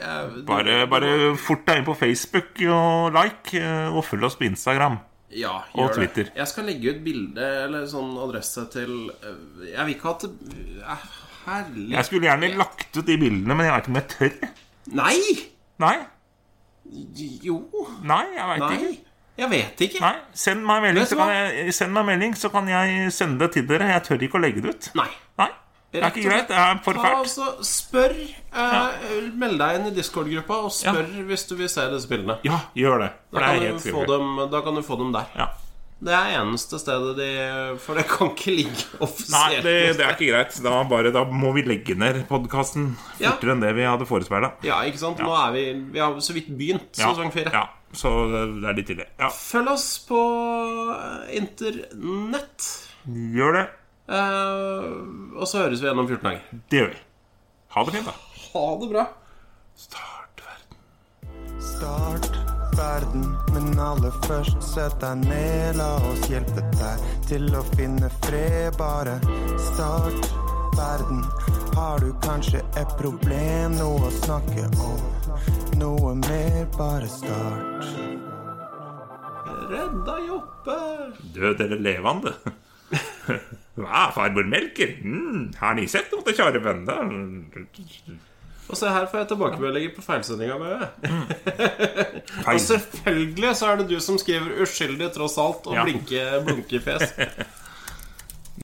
Speaker 2: Eh,
Speaker 1: Bare, bare fort deg inn på Facebook og like, eh, og følg oss på Instagram.
Speaker 2: Ja,
Speaker 1: Og
Speaker 2: gjør det.
Speaker 1: Twitter.
Speaker 2: Jeg skal legge ut bilde eller sånn adresse til øh, Jeg vil ikke at det- øh, Herlig
Speaker 1: Jeg skulle gjerne lagt ut de bildene, men jeg veit ikke om jeg tør.
Speaker 2: Nei!
Speaker 1: Nei,
Speaker 2: Jo
Speaker 1: nei, jeg veit ikke.
Speaker 2: Nei. Jeg vet ikke.
Speaker 1: Nei, send meg en melding,
Speaker 2: Vet
Speaker 1: så
Speaker 2: du
Speaker 1: kan jeg, send meg en melding, så kan jeg sende det til dere. Jeg tør ikke å legge det ut.
Speaker 2: Nei.
Speaker 1: Nei, det er
Speaker 2: Rett og
Speaker 1: ikke greit.
Speaker 2: slett.
Speaker 1: Det er for
Speaker 2: Ta,
Speaker 1: fælt.
Speaker 2: altså, spør. eh, Meld deg inn i Discord-gruppa og spør hvis du vil se disse bildene.
Speaker 1: Ja, gjør det.
Speaker 2: Da
Speaker 1: For det
Speaker 2: kan,
Speaker 1: er
Speaker 2: du
Speaker 1: helt sikkert.
Speaker 2: få dem, da kan du få dem der.
Speaker 1: Ja.
Speaker 2: Det er eneste stedet de For det kan ikke ligge
Speaker 1: Nei,
Speaker 2: offisielt.
Speaker 1: det, det er ikke greit. Da, bare, da må vi legge ned podkasten
Speaker 2: Ja.
Speaker 1: fortere enn det vi hadde forespeila.
Speaker 2: Ja, ikke sant? Nå er vi Vi har så vidt begynt sesong fire.
Speaker 1: Ja, så det er litt tidlig. Ja,
Speaker 2: Følg oss på eh, internett.
Speaker 1: gjør det.
Speaker 2: Eh, og så høres vi igjen om 14 dager.
Speaker 1: Det gjør vi. Ha det fint, da.
Speaker 2: Ha det bra.
Speaker 1: Start verden.
Speaker 3: Start verden, men aller først sett deg ned. La oss hjelpe deg til å finne fred, bare start verden. Har du kanskje et problem, noe å snakke om? Noe mer, bare start.
Speaker 2: Redda Joppe.
Speaker 1: Død eller levende? Hva, farmor Melker? Mm, har ni sett noe til kjarven? Da-
Speaker 2: Og se her får jeg tilbakemeldinger på feilsendinga. Bøe.
Speaker 1: Feil.
Speaker 2: Altså, Selvfølgelig så er det du som skriver 'uskyldig tross alt' og
Speaker 1: Ja.
Speaker 2: blinke, blunkefjes.